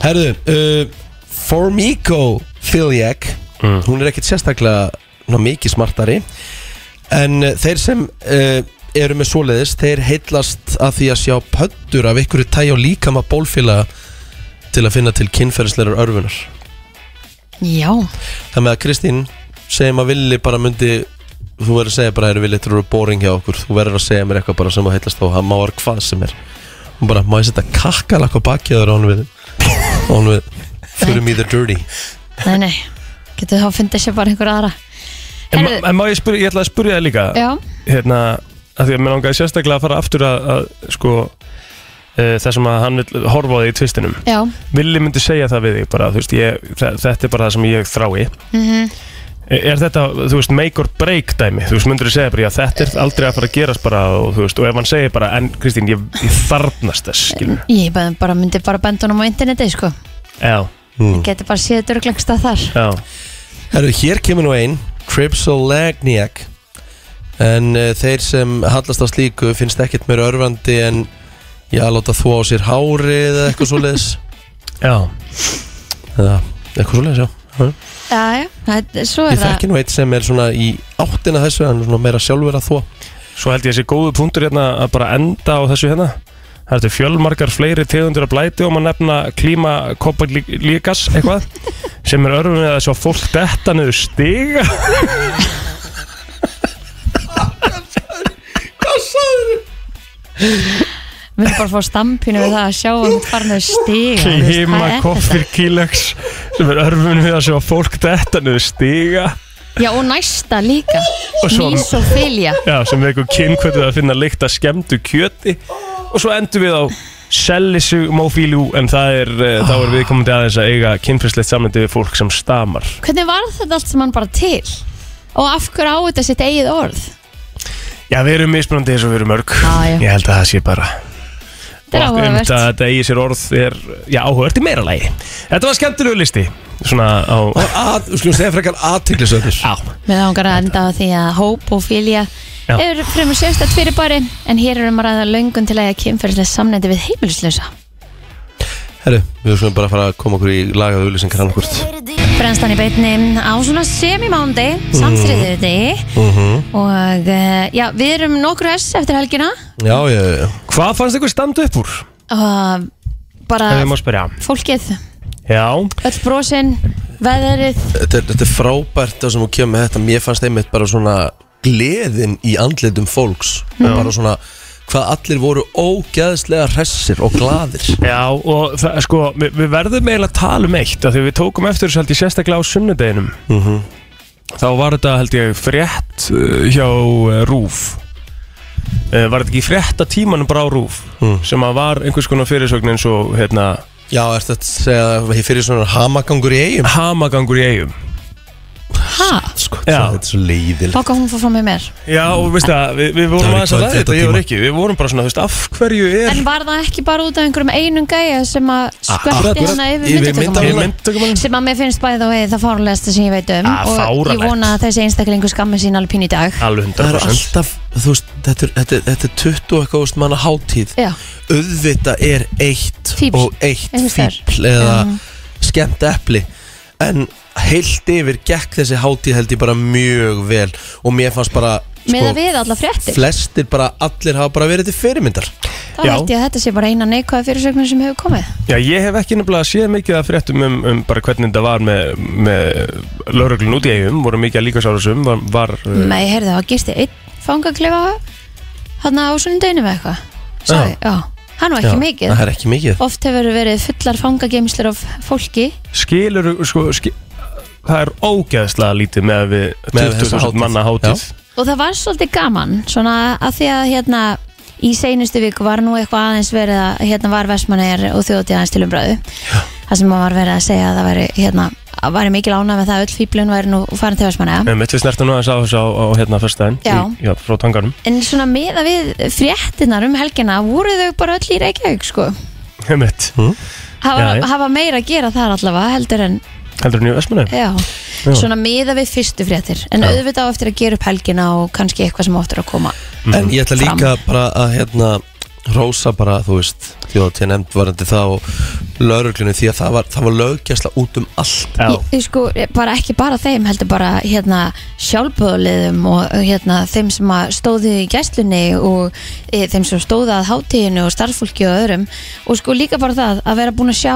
Herðu, uh, Formicofiliac Hún er ekkit sérstaklega ná, mikið smartari En uh, þeir sem uh, eru með svoleiðis Þeir heitlast að því að sjá pöddur af ykkur tæja og líkama bólfélaga Til að finna til kynferðislegar örfunar
já,
Það með að Kristín segjum að villi bara myndi Þú verður að segja bara, eru villi, þú eru boring hjá okkur Þú verður að segja mér eitthvað bara sem að heitlast á Hann máar hvað sem er Hún bara, má ég setja kakkalakk á bakið á hún við Á hún við Fyrir me the dirty
nei, nei Getur þá að finna sér bara einhver aðra
En,
Herðu-
ma- en má ég spyrja, ég ætla að spyrja það líka
Já,
Hérna, að því að mér langaði sérstaklega að fara aftur að, að sko Uh, það sem að hann vil horfa á því í tvistinum
já,
Villi myndi segja það við þig bara, þú veist, ég, þe- þetta er bara það sem ég þrái
mhm
Er þetta, þú veist, make or break dæmi? Þú veist, myndur þú segja bara, já, þetta er aldrei að fara að gerast bara og þú veist, og ef hann segir bara, en Kristín, ég, ég þarnast þess, skilur
Ég bara, bara myndi bara benda honum á interneti, sko
Já, Mm.
Getur bara séð dörglegsta þar
já,
Herru, Hmm. hér kemur nú ein Cripsolagniac En uh, þeir sem hallast á slíku finnst ekkert mér örfandi en já, láta þvó á sér hárið eða eitthvað svo leiðis
já
eða eitthvað svo leiðis, já
Já, já, það, svo er
Ég þekki nú eitt sem er svona í áttina þessu en svona meira sjálfur að þvó
Svo held ég þessi góðu punktur hérna að bara enda á þessu hérna Það ertu fjölmargar fleiri tegundur að blæti og maður nefna klíma kopalíkas eitthvað sem er örfum við að svo fólk detta niður stiga
Við erum bara að fá stampinu við það að sjá um hann farin að stiga þú veist,
klíma
það er
koffir kílaks sem er örfum við að svo fólk detta niður stiga
þetta. Já og næsta líka
Og svo-
Mísofilja
Já, sem er eitthvað kynkvöldið að finna lykt að skemmtu kjöti og svo endur við á sellisumófílu en það er, oh. þá er viðkomandi aðeins að eiga kynfrislegt samlindi við fólk sem stamar
Hvernig var þetta allt sem hann bara til? Og af hverju á þetta sitt eigið orð?
Já, við erum mismunandi eins og við erum mörg
Já, já.
Ég held að það sé bara
Þetta er
og um
áhugavert.
þetta að þetta eigi sér orð er já, áhugavert í meira lagi Þetta var skemmtilegu listi Svona á
að, við skulum segja frekar aðtiklisöðnir
Já,
Mér langar að enda á því að hóp og fylja
Já.
eru fremur sérstætt fyrirbæri en hér erum að ræða löngun til að kynferðislega samnendi við heimilislösa.
Herru, við skulum bara fara að koma okkur í lagaðu auðlýsingar annarkvort
Brennstan í beitni á svona semimándi, samt þriðið
Mhm.
og uh, já, við erum nokkur S eftir helgina
Já, já, já
hvað fannst ykkur standa upp úr?
og bara
Ef ég má spyrja
fólkið,
Já,
öll brosin, veðrið,
Þetta er, þetta er frábært það sem þú kemur með þetta Mér fannst einmitt bara svona gleðin í andlitum fólks og bara svona hvað allir voru ógeðslega hressir og gladir
já og það, sko við, við verðum eiginlega að tala um eitt af því við tókum eftir þessu held ég sérstaklega á sunnudeginum Þá var þetta held ég frétt uh, hjá uh, Rúf uh, Var þetta ekki frétta tímanum bara á Rúf sem að var einhvers konar fyrirsögn eins og hérna
Já, er þetta að segja að ég fyrir svona hamagangur í eigum
hamagangur í eigum
ha,
Sko,
Já.
þetta er svo leiðil
baka hún fór frá mig mér.
Já, og veist það, við, við
Það
vorum
var í
aðeins að ræða þetta, ég og
kvöldfréttatíma.
Rikki Við vorum bara svona, þú veist, af hverju er
En var það ekki bara út af einhverjum einum gæja sem að skvötti
akkurat,
hana
yfir
yfir myndatökum?
myndavélina.
myndatökumann?
sem að mér finnst bæðið og það fárlegasta sem ég veit um
Ah,
og ég
fáránlegt.
vona að þessi einstaklingu skammir sín alveg pín í dag
Alveg
Það eru
100%
alltaf, þú veist, þetta er, þetta er, þetta er 20 og eitthvað þúsund manna hátíð
Já,
auðvita er eitt
Fífl.
og eitt
Einhvers staðar.
fíbl eða skemmt epli en heilt yfir gekk þessi hátíð held ég bara mjög vel og mér fannst bara
með
Sko,
að við alla fréttir
flestir bara, allir hafa bara verið til fyrirmyndar
þá
Já.
held ég að þetta sé bara eina neikvæða fyrirsögnum sem hefur komið
Já, ég hef ekki nefnilega séð mikið af fréttum um, um bara hvernig þetta var með, með lauruglun út í eigum, voru mikið að líka sára sum var, var uh,
Nei, heyrðu, það gisti einn fangaklefa hann á sunnudeginu með eitthvað Sagði, já, hann var ekki mikið
það er ekki mikið
Oft hefur verið fullar fangageimslur af fólki
skilur, sko, skil, það er ógeðslega lítið með að við
Með að við þessa
20.000
hátíð.
manna hátíð
og það var svolítið gaman svona að því að hérna í seinustu viku var nú eitthvað aðeins verið að hérna var Vestmanneir og þjóti aðeins til umbröðu það sem var verið að segja að það væri hérna, að væri mikil ánæg með það að öll fýblun væri nú farin til Vestmanneia
Nei, mitt við snertum nú aðeins á þessu á, á hérna fyrstæðin
Já.
já, frá tanganum
en svona með að við fréttinar um helgina voru þau bara öll í Reykjavík sko
Mitt,
hafa,
Já, já.
hafa meira að gera þar allavega heldur en
heldur nýju Vestmanni?
já, svona með að við fyrstu fréttir en auðvitað á eftir að gera upp helgina og kannski eitthvað sem áttur að koma
en ég ætla
Fram.
líka bara að hérna rosa bara, þú veist, þjóðatíð nefnd varandi það og lauruglunni því að það var, það var löggjæsla út um allt
Já,
Ég, ég sko, bara ekki bara þeim heldur bara hérna sjálfböðulegðum og hérna þeim sem að stóðu í gæslunni og e, þeim sem stóðu að hátíðinu og starffólki og öðrum og sko líka bara það að vera búin að sjá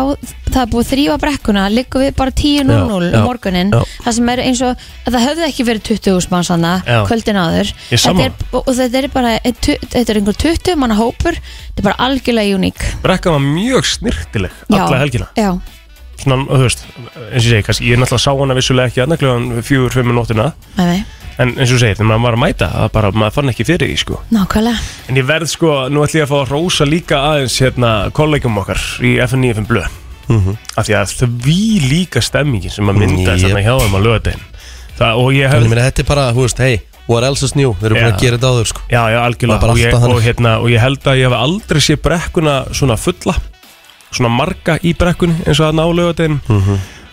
það er búið að þrýfa brekkuna, liggum við bara 10.00
Já, já,
um morgunin,
já.
það sem er eins og að það höfðu ekki verið 20.000 manns hana
Já.
kvöldin áður
Ég er
þetta
sammála.
er, og þetta er bara e, tu- þetta er einhver 20 manna hópur þetta er bara algjörlega uník
brekkan var mjög snirtileg alla helgina
já,
svona, þú veist, eins og ég segi, kannski, ég náttúrulega sá hana vissulega ekki annað kljóðan fjögur, fimm minútina,
með mig,
en eins og ég segi, þegar maður var að mæta, það bara, maður fann ekki fyrir því, sko.
nákvæmlega
En ég verð, sko, nú ætlum ég að fá að rósa líka aðeins, hérna, kollegum okkar í FN95 Blö, af því að því líka stemmingin sem að
Jep.
mynda yep. þarna hjá þeim á lögadegin. Það, og ég
en ég
hef,
meina, þetta er bara, þú veist, hey, what else is new þeir eru búin
Já.
að gera þetta áður, sko
já, já,
Það er
algjörlega,
bara
og ég,
alltaf
og,
þannig.
hérna, og ég held að ég hef aldrei sé brekkuna svona fulla, svona marga í brekkunni eins og þarna á lögadegin.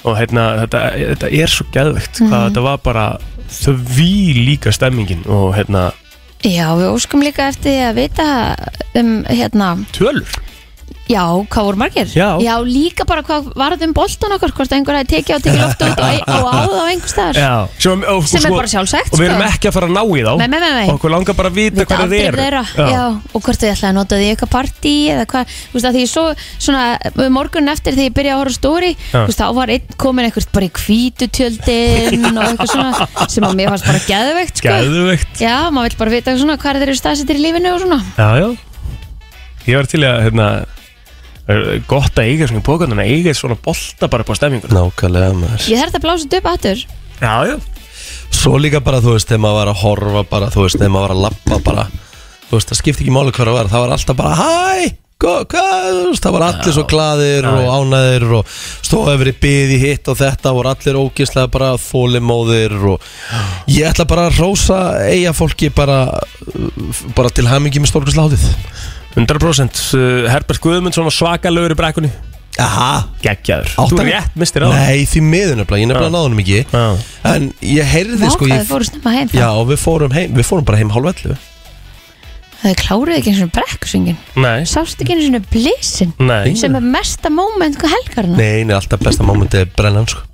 og hérna, þetta, þetta er svo gæðvegt hvað
Mhm.
þetta var bara því líka stemmingin og hérna
Já, við óskum líka eftir því að vita um, hérna,
tölur
já, hvað voru margir?
Já.
líka bara hvað varð um boltan okkar, hvort einhver hafi tekið og tekið loft út og, og áða á einhver staðar.
Já. sem, og,
Sem er bara sjálfsagt,
og við erum
sko.
ekki að fara að ná í þá
Nei, nei, nei, nei.
okkur langar bara að
Vita
vita hvað það
aldrei
er
þeirra, já. og hvort þau ætlaði að nota því í eitthvað partí eða hvað, þú veist að því ég svo svona morgun eftir þegar ég byrjaði að horfa á stóri þú veist þá var einn komin eitthvað bara í hvítu tjöldin og eitthvað svona sem að mér fannst bara geðveikt sko.
gæðvegt
Já, maður vill bara vita svona hvað þeir eru staðsettir í lífinu og svona
já, já. ég var til að hérna, er gott að eiga svona í bókan en að eiga svona bolta bara på stemmingur
Nákvæmlega maður
Ég þarf þetta að blása þetta upp aftur
já, já.
Svo líka bara þú veist, þegar maður var að horfa bara, þú veist, þegar maður var að lappa bara Þú veist, það skipti ekki máli hver að vera, það var alltaf bara Hæ, gó- hvað, þú veist, það var allir svo glaðir og ánæðir og stóðu yfir í byði hitt og þetta voru allir ógislega bara þólimóðir og ég ætla bara að rósa eiga fólki bara, uh, bara til hamingi með stórkast látið
100% uh, Herbert Guðmundsson var svakalögur í brekkunni
Aha
Gekkjaður
Átta-
Þú rétt mistir á
Nei, því miður nefnilega, ég nefnilega náði náðunum ekki
Já.
En ég heyrði
Vá,
sko
hvað
ég,
þið fóru snemma heim þá.
Já, og við fórum heim, við fórum bara heim hálf 11
Þau kláruðu ekki eins og brekkusöngin
Nei
Sástu ekki eins og blissin
Nei
sem er mesta moment sko, hvað helgarna
Nei, nei, alltaf besta mómentið er brennan sko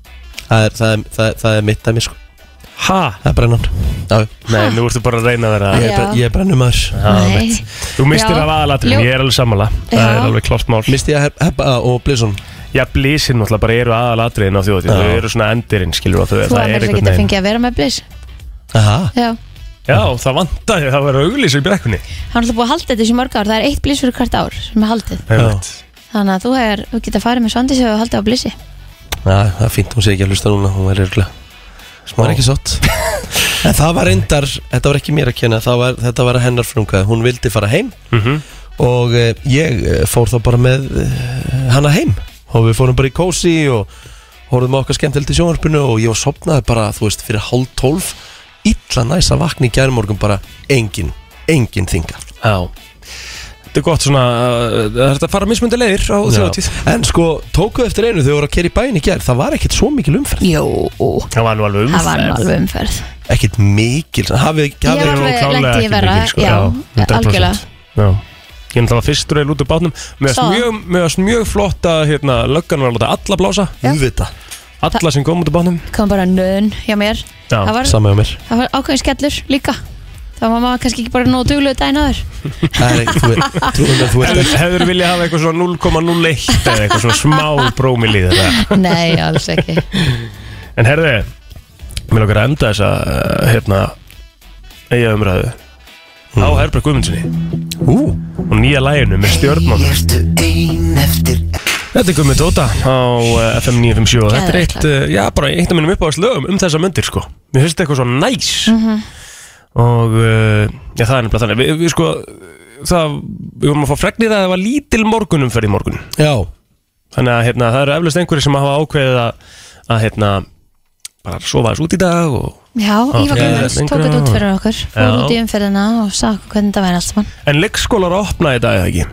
Það er, það er, það er, það er mitt dæmi sko
Ha?
Það er brennan Já,
Nei, nú ertu bara að reyna að vera
ég, er bre-
Já.
ég er brennum maður
Já,
Nei.
mitt. Þú mistir
Já.
af aðalatrinu,
Ljó-
ég er alveg sammála Það
Já.
er alveg klárt mál
Misti ég að hep- heppa og blísun
Já, blísin náttúrulega bara eru aðalatriðin á þjóðatíð Þau eru svona endurinn, skilur þú
Þú að mér
einhvern
ekki að
veginn-
fengið að vera með bliss
Aha
Já,
Já, það vantaði, það var auglýs í brekkunni
hann er alltaf búið að halda þetta þessi mörg ár Það er eitt bliss fyrir hvert ár sem er haldið
Einmitt.
Þannig að þú, er, þú geta farið með svandi sem hefur haldið á blissi
Já, það er fínt, hún sé ekki að hlusta núna, hún er örgulega Smá er ekki sátt En það var reyndar, þetta var ekki mér að kenna það var, Þetta var hennar frumkvæði, hún vildi fara heim
Mhm.
Og eh, ég eh, fór þá bara með eh, hana heim Og við fórum bara í kósi og Hóruðum á okkar skemmtilegt í sjónvarpinu Og ég var sopnaði bara, þú veist, fyrir hálf tólf Illa næs að vakna í gærmorgun bara Engin, engin þinga
Já Þetta er gott svona, uh, það er að fara mismundi leiðir á þjóðatíð
En sko, tókuðu eftir einu þegar við voru að kera í bæin í gær Það var ekkit svo mikil umferð
Jó,
Það var nú alveg
það var nú
umferð
alveg umferð
Ekkit mikil, hafið
Ég var
er nú
alveg
klárlega
lent í
ekki
verra,
mikil, sko.
já,
Já, 100%.
algjörlega
Já Ég náttúrulega var fyrstur eða út úr bátnum Mér
Svo.
varst mjög, mér varst mjög flott að hérna, löggan var að láta alla blása
Úvita,
Alla sem kom út úr bátnum
kom bara nön hjá mér
Já,
það var,
samið á mér
það var ákveðin skellur líka þá var mamma kannski ekki bara nóg dugluðu daginn aður
Nei, þú veit, þú veit, þú veit
Hefur viljað hafa eitthvað svona 0,01 eða eitthvað svona smá brómil í þetta
nei, alls ekki
En herði, mér lókar að enda þessa uh, hérna eiga umræðu á Herbjörg Guðmundssoni
Ú,
og nýja læginu með stjórnum Þetta er Guðmund Óta á uh, FM 957 og þetta er
Geðveikt
eitt, uh, já bara eitt af mínum uppáðast lögum um þessa myndir sko Mér finnst þetta eitthvað svo næs og uh, já það er nefnilega þannig við, við sko það, við vorum að fá fregnir að það var lítil morgunumferð í morgun
já,
Þannig að hérna, það eru eflaust einhverjir sem hafa ákveðið að, að hérna, bara sofa þess út í dag og...
já, Ívar
fyrir
Guðmunds
lengra
tók þetta út fyrir okkur
Já.
fór út í umferðina og sagði okkur hvernig það væri allt saman
En leikskólar opna í dag eða ekki?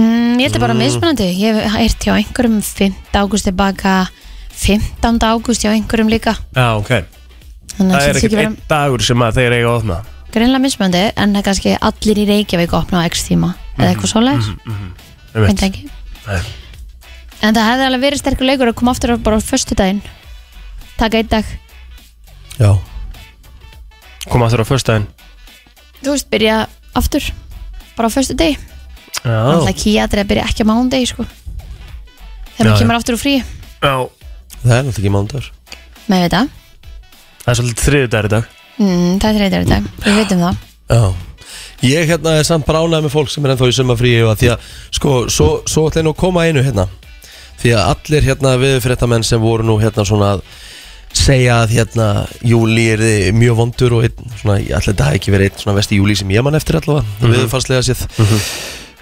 mm, ég held að bara mismunandi ég hef eirt hjá einhverjum 5. ágúst tilbaka 15. ágúst hjá einhverjum líka
Já, ok.
þannig að
Það er
það sé
ekkert
ekki
einn
vera
dagur sem að þeir eiga að opna.
greinlega mismunandi en það er kannski allir í Reykjavík opna á x tíma eða eitthvað svoleiðis,
Ég
veit ekki
Mhm. Nei.
en það hefði alveg verið sterkur leikur að koma aftur á- bara á föstudaginn taka einn dag
já
Koma aftur á förstæðin.
þú veist, byrja aftur bara á föstu degi
Já.
alltaf kýjadrið byrja ekki á mándegi sko. þegar
Já,
maður kemur aftur úr frí
Já.
Það er náttúrulega ekki mándagur
með þetta,
Það er svolítið þriðu dagur í dag.
mm, það er þreytur í dag við veitum það,
Já Ég hérna er samt bara ánægð með fólk sem er ennþá í sömafríi og að því að sko, svo, svo ætla ég nú að koma að einu hérna því að allir hérna viðfréttamenn sem voru nú hérna svona að segja að hérna júli er mjög vondur og einn, svona, ég ætla þetta hafi ekki verið einn svona vesti júli sem ég mann eftir allavega mm -hmm. viðfarslega séð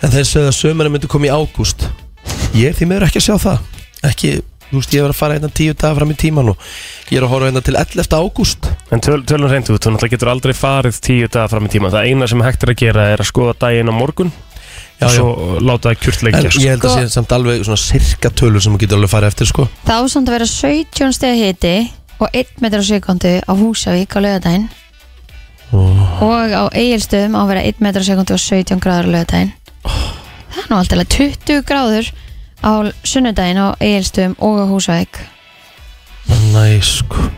en þeir sögðu að sömurinn myndi koma í ágúst ég er því meður ekki að sjá það ekki, þú veist, ég er að fara hérna tíu daga fram í tíman og ég er að horfa hérna til 11. ágúst
En töl, tölun reynd út, þú náttúrulega getur aldrei farið tíu daga fram í tíma. Það eina sem hægt er að gera er að skoða daginn á morgun
Já,
og
já.
svo láta það kjurt
En
leikja.
ég held að
Sko-
sé samt alveg svona sirka tölur sem þú getur alveg farið eftir sko
það ásand að vera 17 stegi hiti og 1 metr á sekundu á Húsavík á lögadaginn og á Egilstöðum á að vera 1 metr á sekundu og 17 gráður á lögadaginn það er nú alltaf 20 gráður á sunnudaginn á Egilstöðum og á Húsavík
Næ sko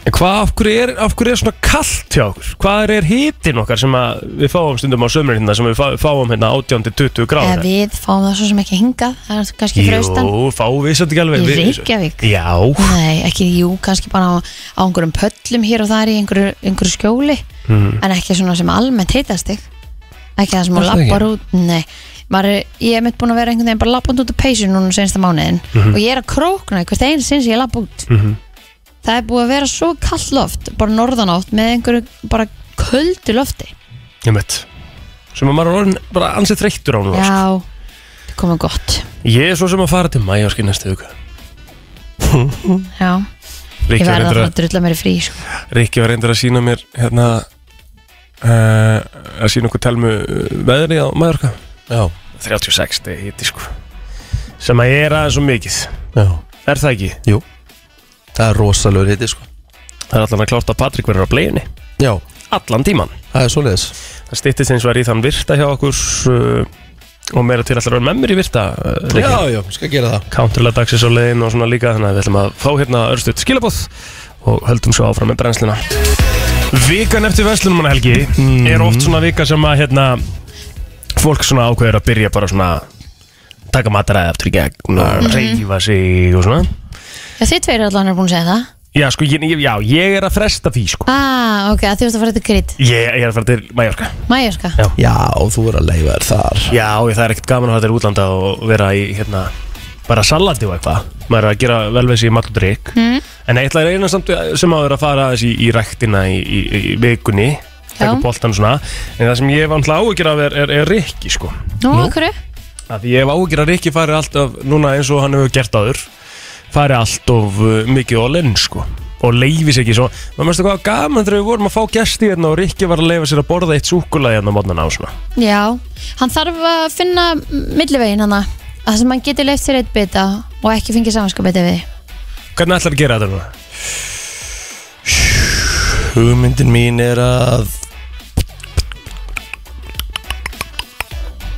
En Hvað, af hverju, er, af hverju er svona kallt hjá okkur? Hvað er hitin okkar sem að við fáum stundum á sömur hérna sem við fá- fáum hérna 18-20
eða
gráður?
við fáum það svo sem ekki hingað það er kannski fraustan
Jú, fáum við svolítið ekki alveg
í
við-
Reykjavík
Já,
Nei, ekki, jú, kannski bara á, á einhverjum pöllum hér og þar í einhverju, einhverju skjóli en ekki svona sem almennt heitast þig ekki það sem hún
Er það
lappar út Nei, maður, er- ég hef mitt búin að vera einhvern veginn bara lappand út á peysu núna sensta mánuðin og ég er að krókna í hvert einn sinns ég lapp út
Mhm.
það er búið að vera svo kall loft bara norðanátt með einhverju bara köldu lofti
ég veit sem að maður er orðin bara ansið þreyttur á núna sko.
Já, það komið gott
Ég er svo sem að fara til mæjarski næstu huga
Já, ég
Rikki
verði að
var reyndar
fara
að,
að drulla mér í frí sko.
Rikki var reyndar að sína eh, mér hérna uh, að sína okkur telmu uh, veðri eh, á mæjarka
já,
36 degi hiti sko sem að er aðeins og mikið
já
er það ekki?
Jú, það er rosalögur hiti sko
Það er allan að klárt að Patrik verður á bleiðinni
Já,
allan tíman
það er svoleiðis
það stýttist eins og er í þann virta hjá okkur uh, og meira til alltaf að vera með mér í virta uh,
Já, já, skal gera það
counterlega dagsins á leiðin og svona líka þannig að við ætlum að fá hérna örstuðt skilabóð og höldum svo áfram með brennsluna Vikan eftir Vestlunumann Helgi er oft svona vika sem að hérna fólk svona ákveður að byrja bara svona taka mataræði aftur í gegn og reyfa sig og svona
Já, þið tveir allan er búin að segja það
Já, sko, ég, ég- já, ég er að fresta því, sko
Ah, ok, að þið varst að fara til Krít sko.
Ég, ég er að fara til Mallorca
Mæjurka
Já.
Já, þú er að leifa þér þar
Já, ég, það er ekkert gaman að fara til útlanda og vera í, hérna, bara salati og eitthvað Maður er að gera velvesi í mat og drikk mm. En eitthvað er eina samt sem maður er að fara aðeins í, í ræktina í, í, í vikunni
Já.
Tekur boltan svona En það sem ég hef alltaf áhyggjur af er, er, er Rikki, sko
Nú, okkur
Af því ég hef áhyggjur að Rikki fari alltaf, núna eins og hann hefur gert áður Fari alltaf uh, mikið all in, sko Og leifis ekki svo Maður mérstu hvað gaman þegar við vorum að fá gesti hérna Og Rikki var að leifa sér að borða eitt súkulaði hérna á mótnana og svona
Já, hann þarf að finna millivegin hann Það sem hann getur leift sér eitt bita og ekki fengið samanskapið við
Hvernig ætlar að gera þetta núna?
Hugmyndin mín er að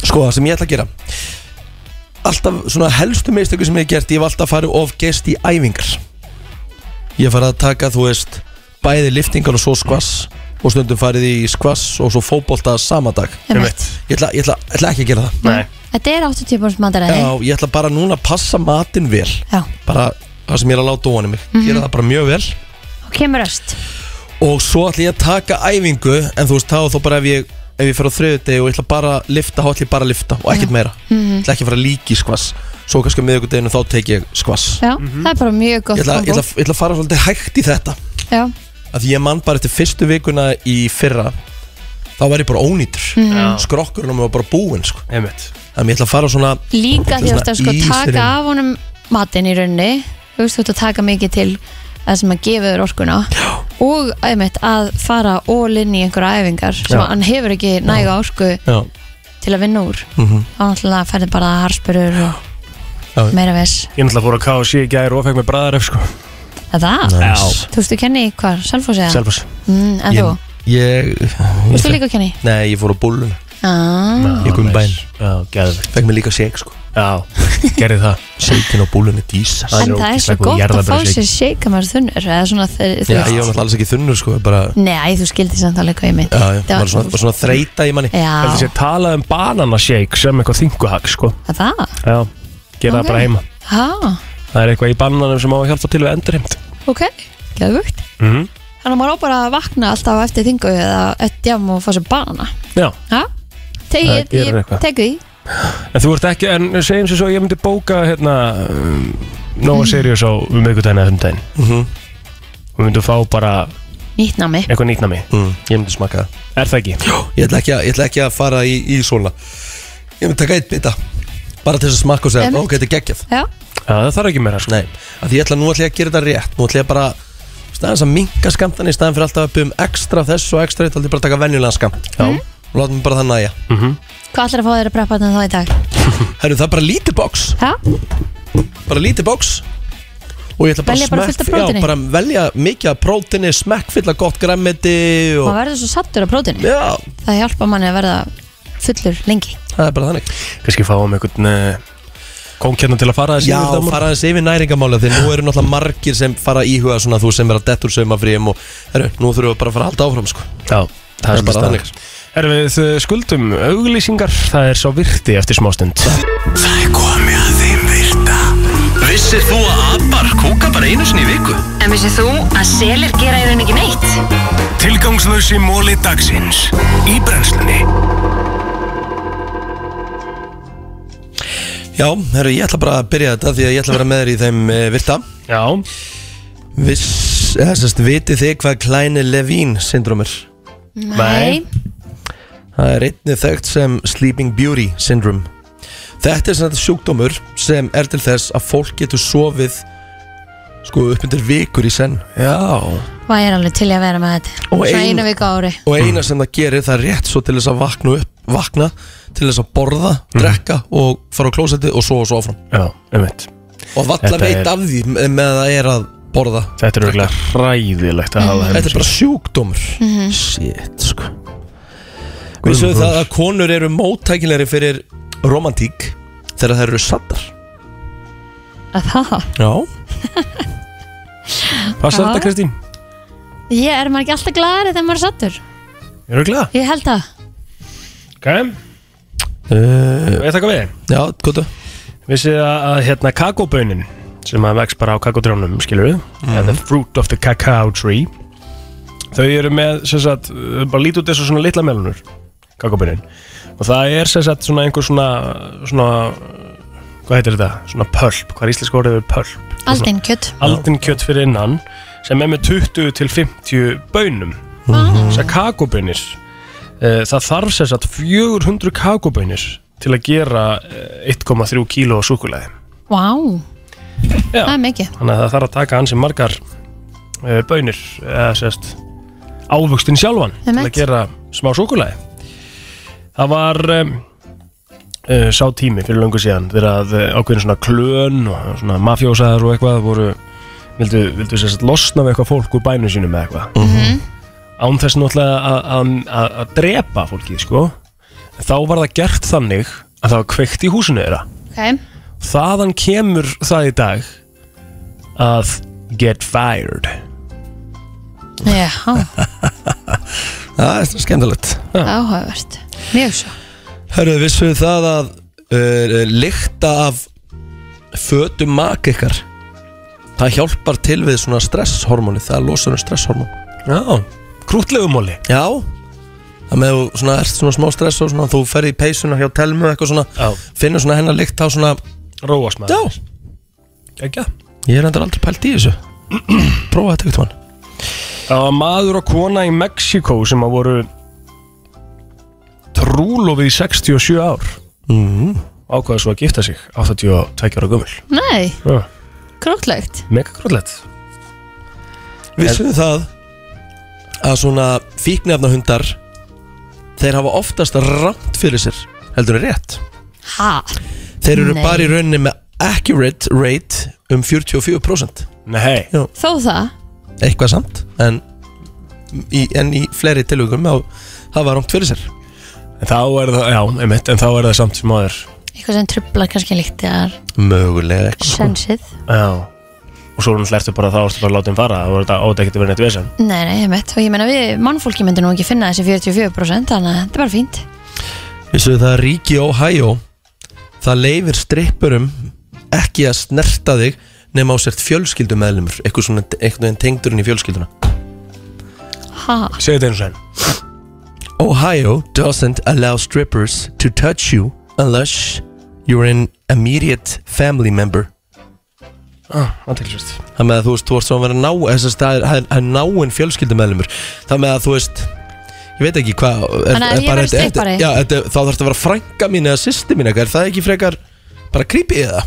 Sko, það sem ég ætla að gera Alltaf svona helstu meistöku sem ég hef gert Ég hef alltaf farið of gest í æfingar Ég farið að taka, þú veist Bæði liftingar og svo skvass Og stundum farið í skvass og svo fótbolta sama dag
Einmitt.
Ég ætla, ég ætla, ætla ekki að gera það
Nei
Þetta er 80% mataræði
Já, ég ætla bara núna að passa matinn vel
Já.
Bara það sem ég er að láta ofan í mig Gera það bara mjög vel
og kemur öst
Og svo ætla ég að taka æfingu En þú veist, þá er þó bara ef ég Ef ég fer á þriðudegi og ég ætla bara að lifta Þá ætla ég bara að lifta og ekkert meira
Mhm.
Ég ætla ekki að fara líki í skvass Svo kannski að miðvikudeginu þá tek ég skvass
Já, það er bara mjög
ég
gott
ætla, ég, ætla, ég ætla að fara svolítið hægt í þetta
Já,
Af því ég man bara eftir fyrstu vikuna í fyrra Þá var ég bara ónýtur
Mhm.
Skrokkurinn á mig var bara búinn sko.
Einmitt
Þannig ég ætla að fara svona
líka því þú ert að sko
Svona ísfyrir.
taka af honum matinn í rauninni Þú veist, þú ert að taka mikið til það sem að gefa þér orkuna Já. og einmitt að fara all in í einhverja æfingar sem
Já.
hann hefur ekki næga orku
Já,
til að vinna úr
mm
þá náttúrulega ferði bara að harspurur og
Já.
meira viss
Ég náttúrulega fór að KFC í gær og fekk mér bræðaref sko
Það það?
nice.
Þú veist, þú kenni hvað? Selfos eða?
Selvas
Mm, en þú?
Ég,
Þú
ég
veist, þú líka kenni?
Nei, ég fór á búlun
Ah,
Ég kom í bæn
Já, gerði
Fekk mér líka shake sko
Já, gerði það
Seitin á búlunni dísas
Það er
en það er
ógeðslega
svo
góð
gott að fá
jarðarberjashake.
sér shake að maður er þunnur eða svona þeir, þú
Já, ég var náttúrulega alls ekki þunnur sko bara,
Nei, þú skildi samt alveg hvað ég mynd
já, já, var svona, var svona þreita í manni
Heldur
Já,
sér talað um bananashake sem eitthvað þinguhag sko
er það?
Já, gera
Ok.
það bara heima
Ha,
Það er eitthvað í bananum sem á að hjálpa til við endurheimt
ok, geðvögt
mm.
Þannig að maður á bara að vakna alltaf eftir þingu eða eftir jam og fá sér banana
Já,
Ha? Teg,
Það
ég,
gerir
ég
eitthvað.
tek því
en þú ert ekki, en segjum sér svo að ég myndi bóka hérna um,
Mhm.
Nóa Sirius á um eða um daginn
Mhm.
Og myndi fá bara
Nýtt námi
eitthvað nýtt nami
mm, Ég myndi smaka það
Er það ekki? Jó
Ég ætla ekki að, ég ætla ekki að fara í, í svona Ég myndi taka eitt bita Bara til þess að smakka og segja,
Einmitt.
ok, þetta er geggjað
Já,
Já, það þarf ekki meira sko
Nei, af því ég ætla nú ætla ég að gera þetta rétt Nú ætla ég bara staðans að minka skamtan Í staðan fyrir alltaf að byggum ekstra af þessu og ekstra Þá ætla ég bara að taka venjulegan skamt Já Og látum bara það næja
hvað ætlar að fá þér að preppa þetta þá í dag?
Herru, það er bara lítið box
Ha?
Bara lítið box Og ég ætla bara
Velja bara
smekk-
fullt af próteini?
Já, bara velja mikið af prótini Smekkfylla gott græmmiti
Maður
og...
verður svo sattur á prótinu
Já,
Það hjálpa manni að verða fullur lengi
það er bara þannig
Kannski fáum einhvern uh, kónkjarnan til að fara þessi
Já, fara aðeins yfir næringamála því nú eru náttúrulega margir sem fara að íhuga svona þú sem er að dettur saumafrým og herru, nú þurfum við bara að fara að halda áfram sko
Já, það er
bara
bara
þannig.
þannig Erum við uh, skuldum auglýsingar, það er sá virti eftir smástund
Það er komið að þeim virta Vissir þú að abar kúka bara einu sinni í viku?
En vissið þú að selir gera í rauninni ekki neitt?
Tilgangslösi móli dagsins Í brennslunni
Já, herru, ég ætla bara að byrja þetta því að ég ætla að vera með þér í þeim e, virta
Já,
Viss, eða sérst, vitið þið hvað klæni Levine syndrom er?
Nei.
Það er einnig þekkt sem Sleeping Beauty Syndrome Þetta er svona sjúkdómur sem er til þess að fólk getur sofið sko upp undir vikur í senn
já
Hvað er alveg til í að vera með þetta?
Og
Svo
ein-
einu viku á ári
og eina sem það gerir það er rétt svo til þess að vakna upp vakna til þess að borða, drekka og fara á klósetti og svo og svo áfram
Já, einmitt
og valla
Þetta
veit
er-
af því með að það er að borða
Þetta er örgulega hræðilegt að hafa hérna.
Þetta er bara
svona.
sjúkdómur
Mhm.
Shit, sko Vissuðu það að konur eru móttækilegri fyrir romantík þegar þær eru sattar
Að það?
Já
Passar þetta
Já.
Kristín?
Ég er maður ekki alltaf glæðari þegar maður er sattur
Örgulega?
Ég held það
Ok
uh,
Ég taka við þig
Já, gott
Vissið þið að, að hérna kakóbönin sem að vex bara á kakótrjónum, skilur við The fruit of the cacao tree Þau eru með, sem sagt, uh, bara lítið út þessu svona litla melunur kakóbönin og það er sem sagt svona einhver svona svona, uh, hvað heitir þetta? Svona pölp, hvað er íslensk orðið við pölp?
Aldin kjött
Aldin kjött fyrir innan sem er með 20 til 50 bönum þessar kakóbönir Eh, það þarf sem sagt 400 kakóbönir til að gera eh, 1,3 kíló á súkulæði
Vá
Já.
Það er mikið
þannig að það þarf að taka ansi margar uh, bönir eða sérst ávöxtin sjálfan til að
Einmitt.
gera smá súkulæði það var um, uh, sá tími fyrir löngu síðan þegar að uh, ákveðin svona klön og svona mafjósaðar og eitthvað voru vildu, vildu sérst losna við eitthvað fólk úr bænum sínum eða eitthvað án þess náttúrulega að- að- að að drepa fólkið sko En þá var það gert þannig að það var kveikt í húsinu þeirra
Ok
þaðan kemur það í dag að get fired
Já,
Það er skemmtilegt
áhugavert Mjög svo
Hörru, vissuðu það að uh, lykta af fötum mak ykkar það hjálpar til við svona stresshormóni það losar um stresshormón
Já, krútlegumóli
Já, það með þú svona ert svona smá stress og svona þú fer í peysuna hjá telmu eitthvað svona,
Já.
finnur svona hennar lykt á svona,
Róast maður
já,
Ekki
ég er endur aldrei pælt í þessu Prófa þetta eitthvað
Það var maður og kona í Mexíkó sem að voru trúlofið í 67 ár
mm.
ákvaða svo að gifta sig 82 ára gömul
Nei,
Já,
króklegt
Mega krútlegt
Vissuðu það að svona fíknefnahundar þeir hafa oftast rangt fyrir sér heldur en rétt
Ha,
Þeir eru
Nei.
bara í rauninni með accurate rate um 44%
Nei,
þó það
eitthvað samt en í, en í fleiri tilugum á hafa rangt fyrir sér
en þá er það, já, einmitt, en þá er það samt sem maður
Eitthvað sem trubla kannski líkt eða
mögulega
sensið
Já Og svo er hún hlertu bara þá, ertu bara að láta um fara Það voru þetta átt ekkert að vera neitt vesen
Nei, nei, ég mitt Og ég meina við mannfólki myndi nú ekki finna þessi 44% Þannig að þetta er bara fínt
Vissu það að ríki Ohio það leifir strippurum ekki að snerta þig nema á sért fjölskyldumeðlumur eitthvað svona einhvern veginn tengdurinn í fjölskylduna
Ha,
Segðu þetta einu sen
Ohio doesn't allow strippers to touch you unless you're an immediate family member
Ah, athyglisvert.
Það með að þú veist, þú ert svona að vera ná þessast, það er- það er- það er náinn fjölskyldumeðlumur Það með að þú veist Ég veit ekki hvað er-
Þannig að
er
ef ég
bara-
verð
þetta-
strippari?
Já, þetta, þá þarf þetta að vera frænka mín eða sýsti mín eitthvað Er það ekki frekar bara creepy eða?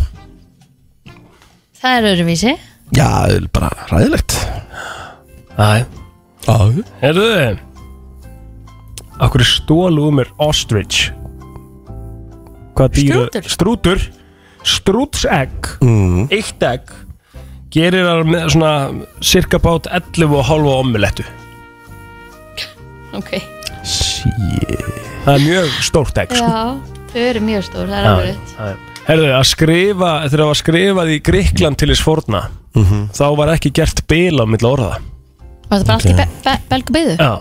það er öðruvísi
Já, það er bara ræðilegt
Æ,
Já,
Herðu Akkur stóluðu mér ostrich Hvað dýr
Strútur.
Strútur Strútsegg
mm,
Eitt egg Gerir það með svona Cirka bát 11 og halva omulettu
Ok
Það er mjög stórt egg sko.
Já, þau eru mjög stór, það er
Já,
alveg
já, já. Herðu, að skrifa Þegar það var skrifað í Gríkland til þess forna Þá var ekki gert bil á milla orða
Var þetta bara allt í be be belgu byðu?
Já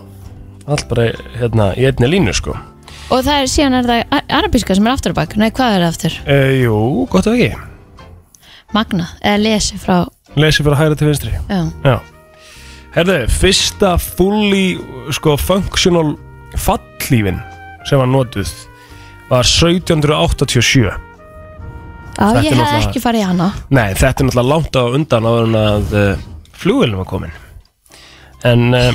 Allt bara hérna, í einni línu sko
Og það er síðan er það a- arabíska sem er aftur á bak Nei, hvað er aftur?
e, Jú, gott ef ekki
Magna, eða lesi frá
Lesi fyrir hæra til vinstri
Já,
Já Herðu, fyrsta fully sko, functional fallífin sem var notuð var 1787
á,
Þetta er
ég hef
náttúrulega-
ekki farið í hana
Nei, þetta er náttúrulega langt á undan áður en að uh, flugvelin var komin en uh,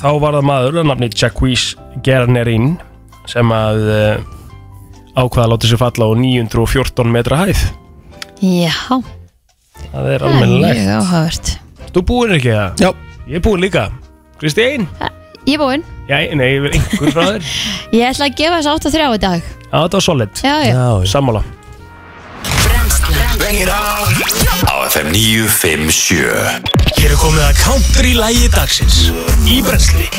þá var það maður að nafni Jacques Gernerin sem að uh, ákvaða að láta sér falla á 914 metra hæð
Já,
Það er
það er
almennilegt
mjög áhugavert
Þú búinn ekki það?
já.
Ég er búinn líka Kristín?
Ég er búinn
Jæ, nei, ég vil einhver frá þér
Ég ætla að gefa þessu 8 og 3 í dag
Já, þetta var solid
Já, já.
Sammála
Á FM 957
Hér er komið að country lægi dagsins Í brensli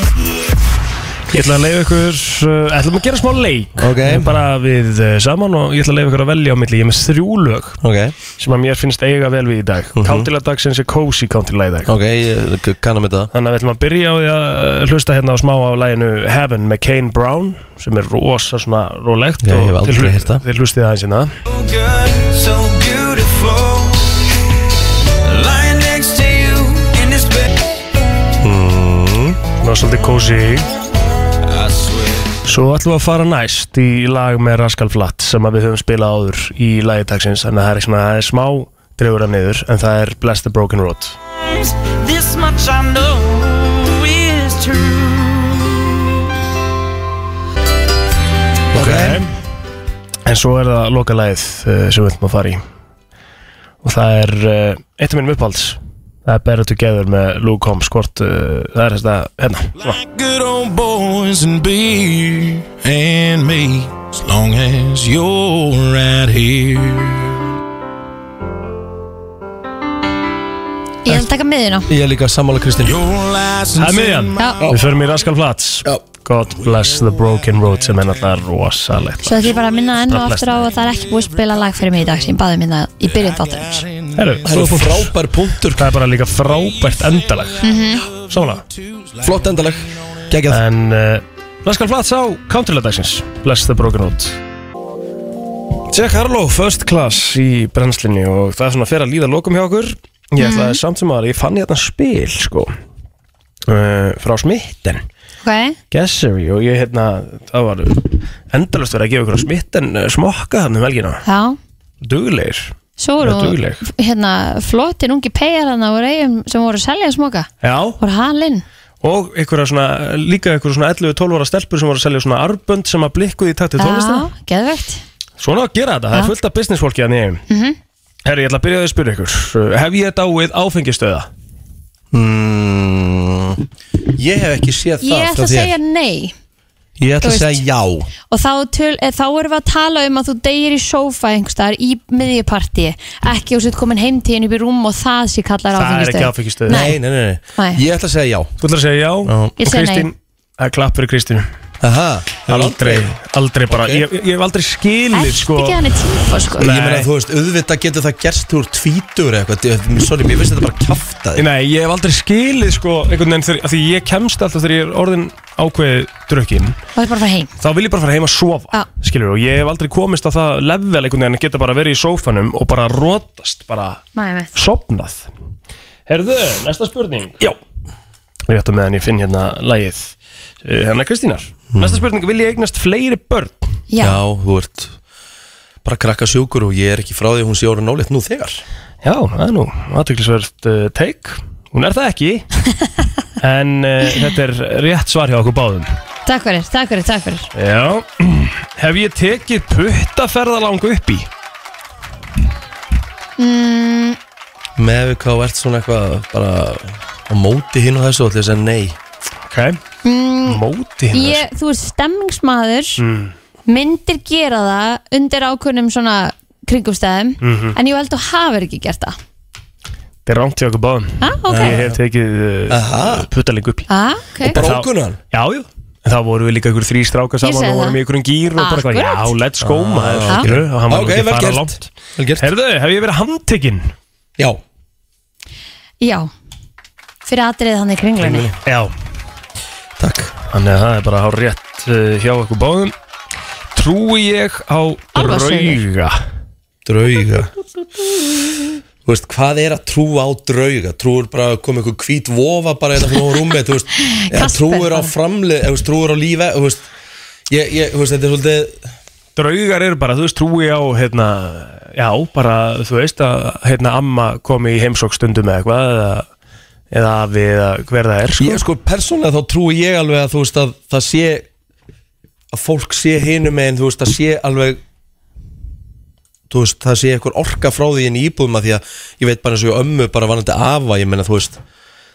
Ég ætla að leiða ykkur, uh, ætlum að gera smá leik okay. Bara við uh, saman og ég ætla að leiða ykkur að velja á milli Ég er með þrjú lög
okay.
Sem að mér finnst eiga vel við í dag mm -hmm. dagsins er cozy country lægi dag
Mhm. Ok, ég kannum þetta
Þannig að við ætlum að byrja á því að uh, hlusta hérna á smá á læginu Heaven með Kane Brown Sem er rosa svona rólegt
Já,
og
ég hef aldrei
þið hlu-
heyrt það.
Þið hlustið aðeins hérna
So beautiful. Lying next to you in this bed.
Mm, Ná svolítið cozy Svo ætlum við að fara næst í lag með Raskal Flatt sem að við höfum spilað áður í lagitagsins þannig að það er, svona, það er smá drefur að niður en það er Bless the Broken Road
This much I know is true.
okay. En svo er það loka lagið uh, sem við ætlum að fara í og það er uh, eitt af mínum upphalds það er Better Together með Luke Combs hvort uh, það er þetta hérna Svona.
Good old boys and beer and me, as long as you're right here.
Ég held að taka miðina
Ég er líka sammála Kristín
Það er miðjan
Já.
Við förum í Raskal Flats God bless the broken road sem er náttúrulega rosalegt
Svo ætlum ég bara að minna enn og
Bless.
aftur á að það er ekki búið að spila lag fyrir mig í dag sem ég baði minna í byrjun þáttarins
Heru,
Það er frábær punktur
Það er bara líka frábært endalag Sálega
Flott endalag Gægjað
En uh, Raskal Flats á Countrylæðdagsins Bless the broken road Jack Harlow, first class í brennslinni og það er svona fyrir að líða lokum hjá okkur Ég ætlaði samt sem að ég fann ég þetta spil sko uh, frá smitten
Ok,
Gessery og ég hérna það var endalust verið að gefa ykkur á smitten eh, smokka þannig um helgina
já
dugleir
Svo
Já,
voru
dugleg.
f- hérna flottin ungi peyjar hann á reyjum sem voru að selja að smoka
já
voru halinn
og ykkur svona líka ykkur svona 11-12 ára stelpur sem voru að selja svona arbönd sem að blikkuði í takt við tónlistina
Já, geðvegt
svona að gera þetta það
Já.
er fullt af business fólki að nýjum
mm
herri ég ætla að byrja að spyrja ykkur uh, hef ég dáið áfengistöða
mm, Ég hef ekki séð það
Ég ætla
frá
að
þér.
segja nei
Ég ætla
Þú
að
veist.
segja já
og þá, töl, eh, þá erum við að tala um að þú deyir í sófa einhverstaðar í miðjuparti ekki og svo komin heim til henni upp í rúm og það sé kallar áfengistöð
Nei, nei, nei, nei.
Nei.
Ég ætla að segja já
Þú ætla að segja já
Ég
og
segi nei.
Kristín það er klapp fyrir Kristín
Aha,
aldrei aldrei bara
Ok.
ég, ég hef aldrei skilið sko
ekki hann í tífa sko
Ég meina, þú veist, auðvitað getur það gerst úr tvítur eða eitthvað Ég- Sorry, mér finnst þetta bara kjaftaði
Nei, ég hef aldrei skilið sko einhvern veginn þegar, af því ég kemst alltaf þegar ég er orðin ákveðið drukkin
og það er bara að fara heim
þá vil ég bara fara heim að sofa
Já.
skilur, og ég hef aldrei komist á það level einhvern veginn að geta bara verið í sófanum og bara rótast, bara
Nei, nei.
sopnað Herðu, næsta spurning Já Rétt á meðan ég finn hérna lagið Eh, hérna Kristínar Næsta spurning, vil ég eignast fleiri börn?
Já.
þú ert bara krakka sjúkur og ég er ekki frá því að hún sé orðin náleitt nú þegar
Já, það er nú aðtöklisvert uh, take Hún er það ekki En uh, þetta er rétt svar hjá okkur báðum
takk fyrir, takk fyrir, takk fyrir
Já, hef ég tekið puttaferðalang upp í?
mm,
Með við hvað þú ert svona eitthvað bara á móti hinn og þessu ætla ég að segja nei
Ok
mm,
Móti
ég, þú ert stemmingsmaður myndir gera það undir ákveðnum svona kringumstæðum
Mhm.
en ég held að hafa ekki gert það
Það er rámt hjá okkur báðum
Ah, ok.
Ég hef tekið uh, puttaling upp í
ah, okay.
hann? Já, já En þá vorum við líka ykkur þrý strákar
Ég
saman
segi
og vorum
það.
í ykkur um gýr og bara eitthvað,
Akkurat.
já, let's go maður,
Ah.
skilurðu, og hann var
Ok,
ekki að
vel
fara
gert.
langt. Herðu, hef ég verið handtekinn?
Já
já fyrir aðrið hann í kringlunni
Já Takk Þannig að það er bara á rétt uh, hjá okkur báðum Trúi ég á
Álfasögur.
drauga
Drauga Þú veist, hvað er að trúa á drauga? Trúur bara að koma einhver hvít vofa bara þetta frá rúmi, þú veist eða
Kasper,
Trúur á
bara.
framlið, eða þú veist, trúur á lífi Þú veist, ég, ég, þú veist, þetta er svolítið
Draugar eru bara, þú veist, trúi á hérna, já, bara, þú veist að hérna amma komi í heimsók stundum eða eitthvað eða, eða afi eða hver það er sko.
Ég sko, persónlega þá trúi ég alveg að þú veist að það sé að fólk sé hinum megin, þú veist, það sé alveg þú veist, það sé eitthvað orka frá því inn í íbúðum að því að ég veit bara eins og ég ömmu bara vanandi afa, ég meina, þú veist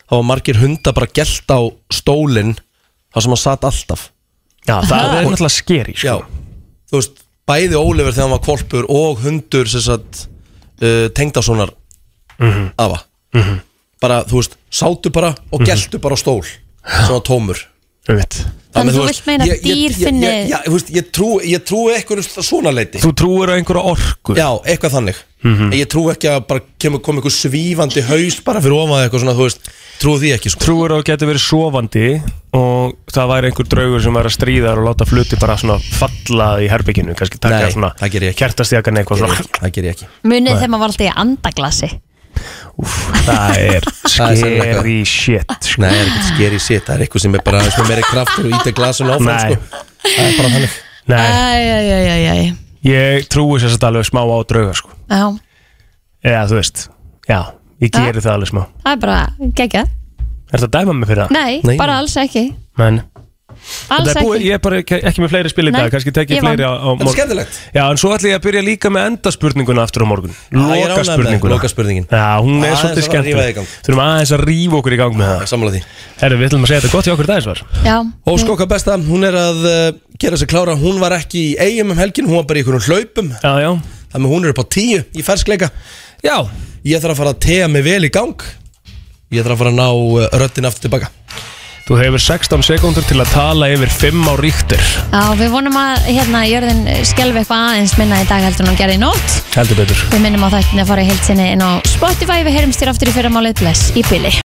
það var margir hunda bara gælt á stólinn þar sem hann satt alltaf
Já, það er náttúrulega skeri
sko. Já, þú veist, bæði Ólifur þegar hann var kvolpur og hundur sem sagt uh, tengdasonar
Mhm.
afa
Mhm.
bara, þú veist, sátu bara og
Mhm.
geltu bara á stól sem var tómur
Þannig,
Þannig þú vilt meina að
ég- ég-
dýr
ég-
finni-
ég- Já, þú veist, ég trú- ég trúi eitthvað svona leiti
Þú trúir á einhverja orku
Já, eitthvað þannig
Mhm.
Ég trú ekki að bara kemur kom einhver svífandi haus bara fyrir ofan eða eitthvað svona, þú veist Trúi því ekki sko
Trúir að þú getur verið sofandi og það væri einhver draugur sem væri að stríða þér og láta fluti bara svona falla í herbygginu kannski taka
Nei,
svona kertastjakan eitthvað svona
Það ger ég ekki
Munið
Nei.
þegar maður var alltaf í andaglasi
Það er
Það er sennilega eitthvað.
scary shit sko.
Nei, það er ekkert scary shit, það er eitthvað sem er bara aðeins með meiri kraft og íta glasinu áfram
Nei.
sko Það er bara þannig
Nei,
Æjæjæjæjæj
ég trúi sér þetta alveg smá á drauga sko
Já,
Eða þú veist, já, ég
Ja.
geri það alveg smá
það er bara gegja
Er þetta að dæma mig fyrir það?
Nei, bara alls ekki
Men,
Alls
Þetta er búið,
ekki
Ég er bara ekki, ekki með fleiri spil í
Nei,
dag, kannski tek
ég
ég fleiri á,
vann.
á
Þetta er skemmtilegt.
Já, en svo ætla ég að byrja líka með endaspurninguna aftur á morgun
ég er ánægður með
Loka spurninguna
lokaspurningin.
Já, hún er
Aðeins að
svolítið
fara að rífa þig í
skemmtileg
gang.
Þurfum aðeins að rífa okkur í gang með það
Sammála því
Herru, við ætlum að segja þetta gott hjá okkur í dagisvar
Já,
Og sko hvað besta, hún er að uh, gera sig klára Hún var ekki í eigum um helgin, hún var bara í einhverjum hlaupum
Já, já
Þannig að hún er upp á tíu í ferskleika
Já
Ég þarf að fara að tega mig vel í gang Ég þarf að fara að ná uh, röddin aftur tilbaka
Þú hefur 16 sekúndur til að tala yfir 5 á ríktur
Já, við vonum að hérna jörðin skelfi eitthvað aðeins minna í dag heldur en hún gerði í nótt
Heldur betur
Við minnum á þættin að fara í heilsinni inn á Spotify Við heyrumst þér aftur í fyrramálið Bless í byli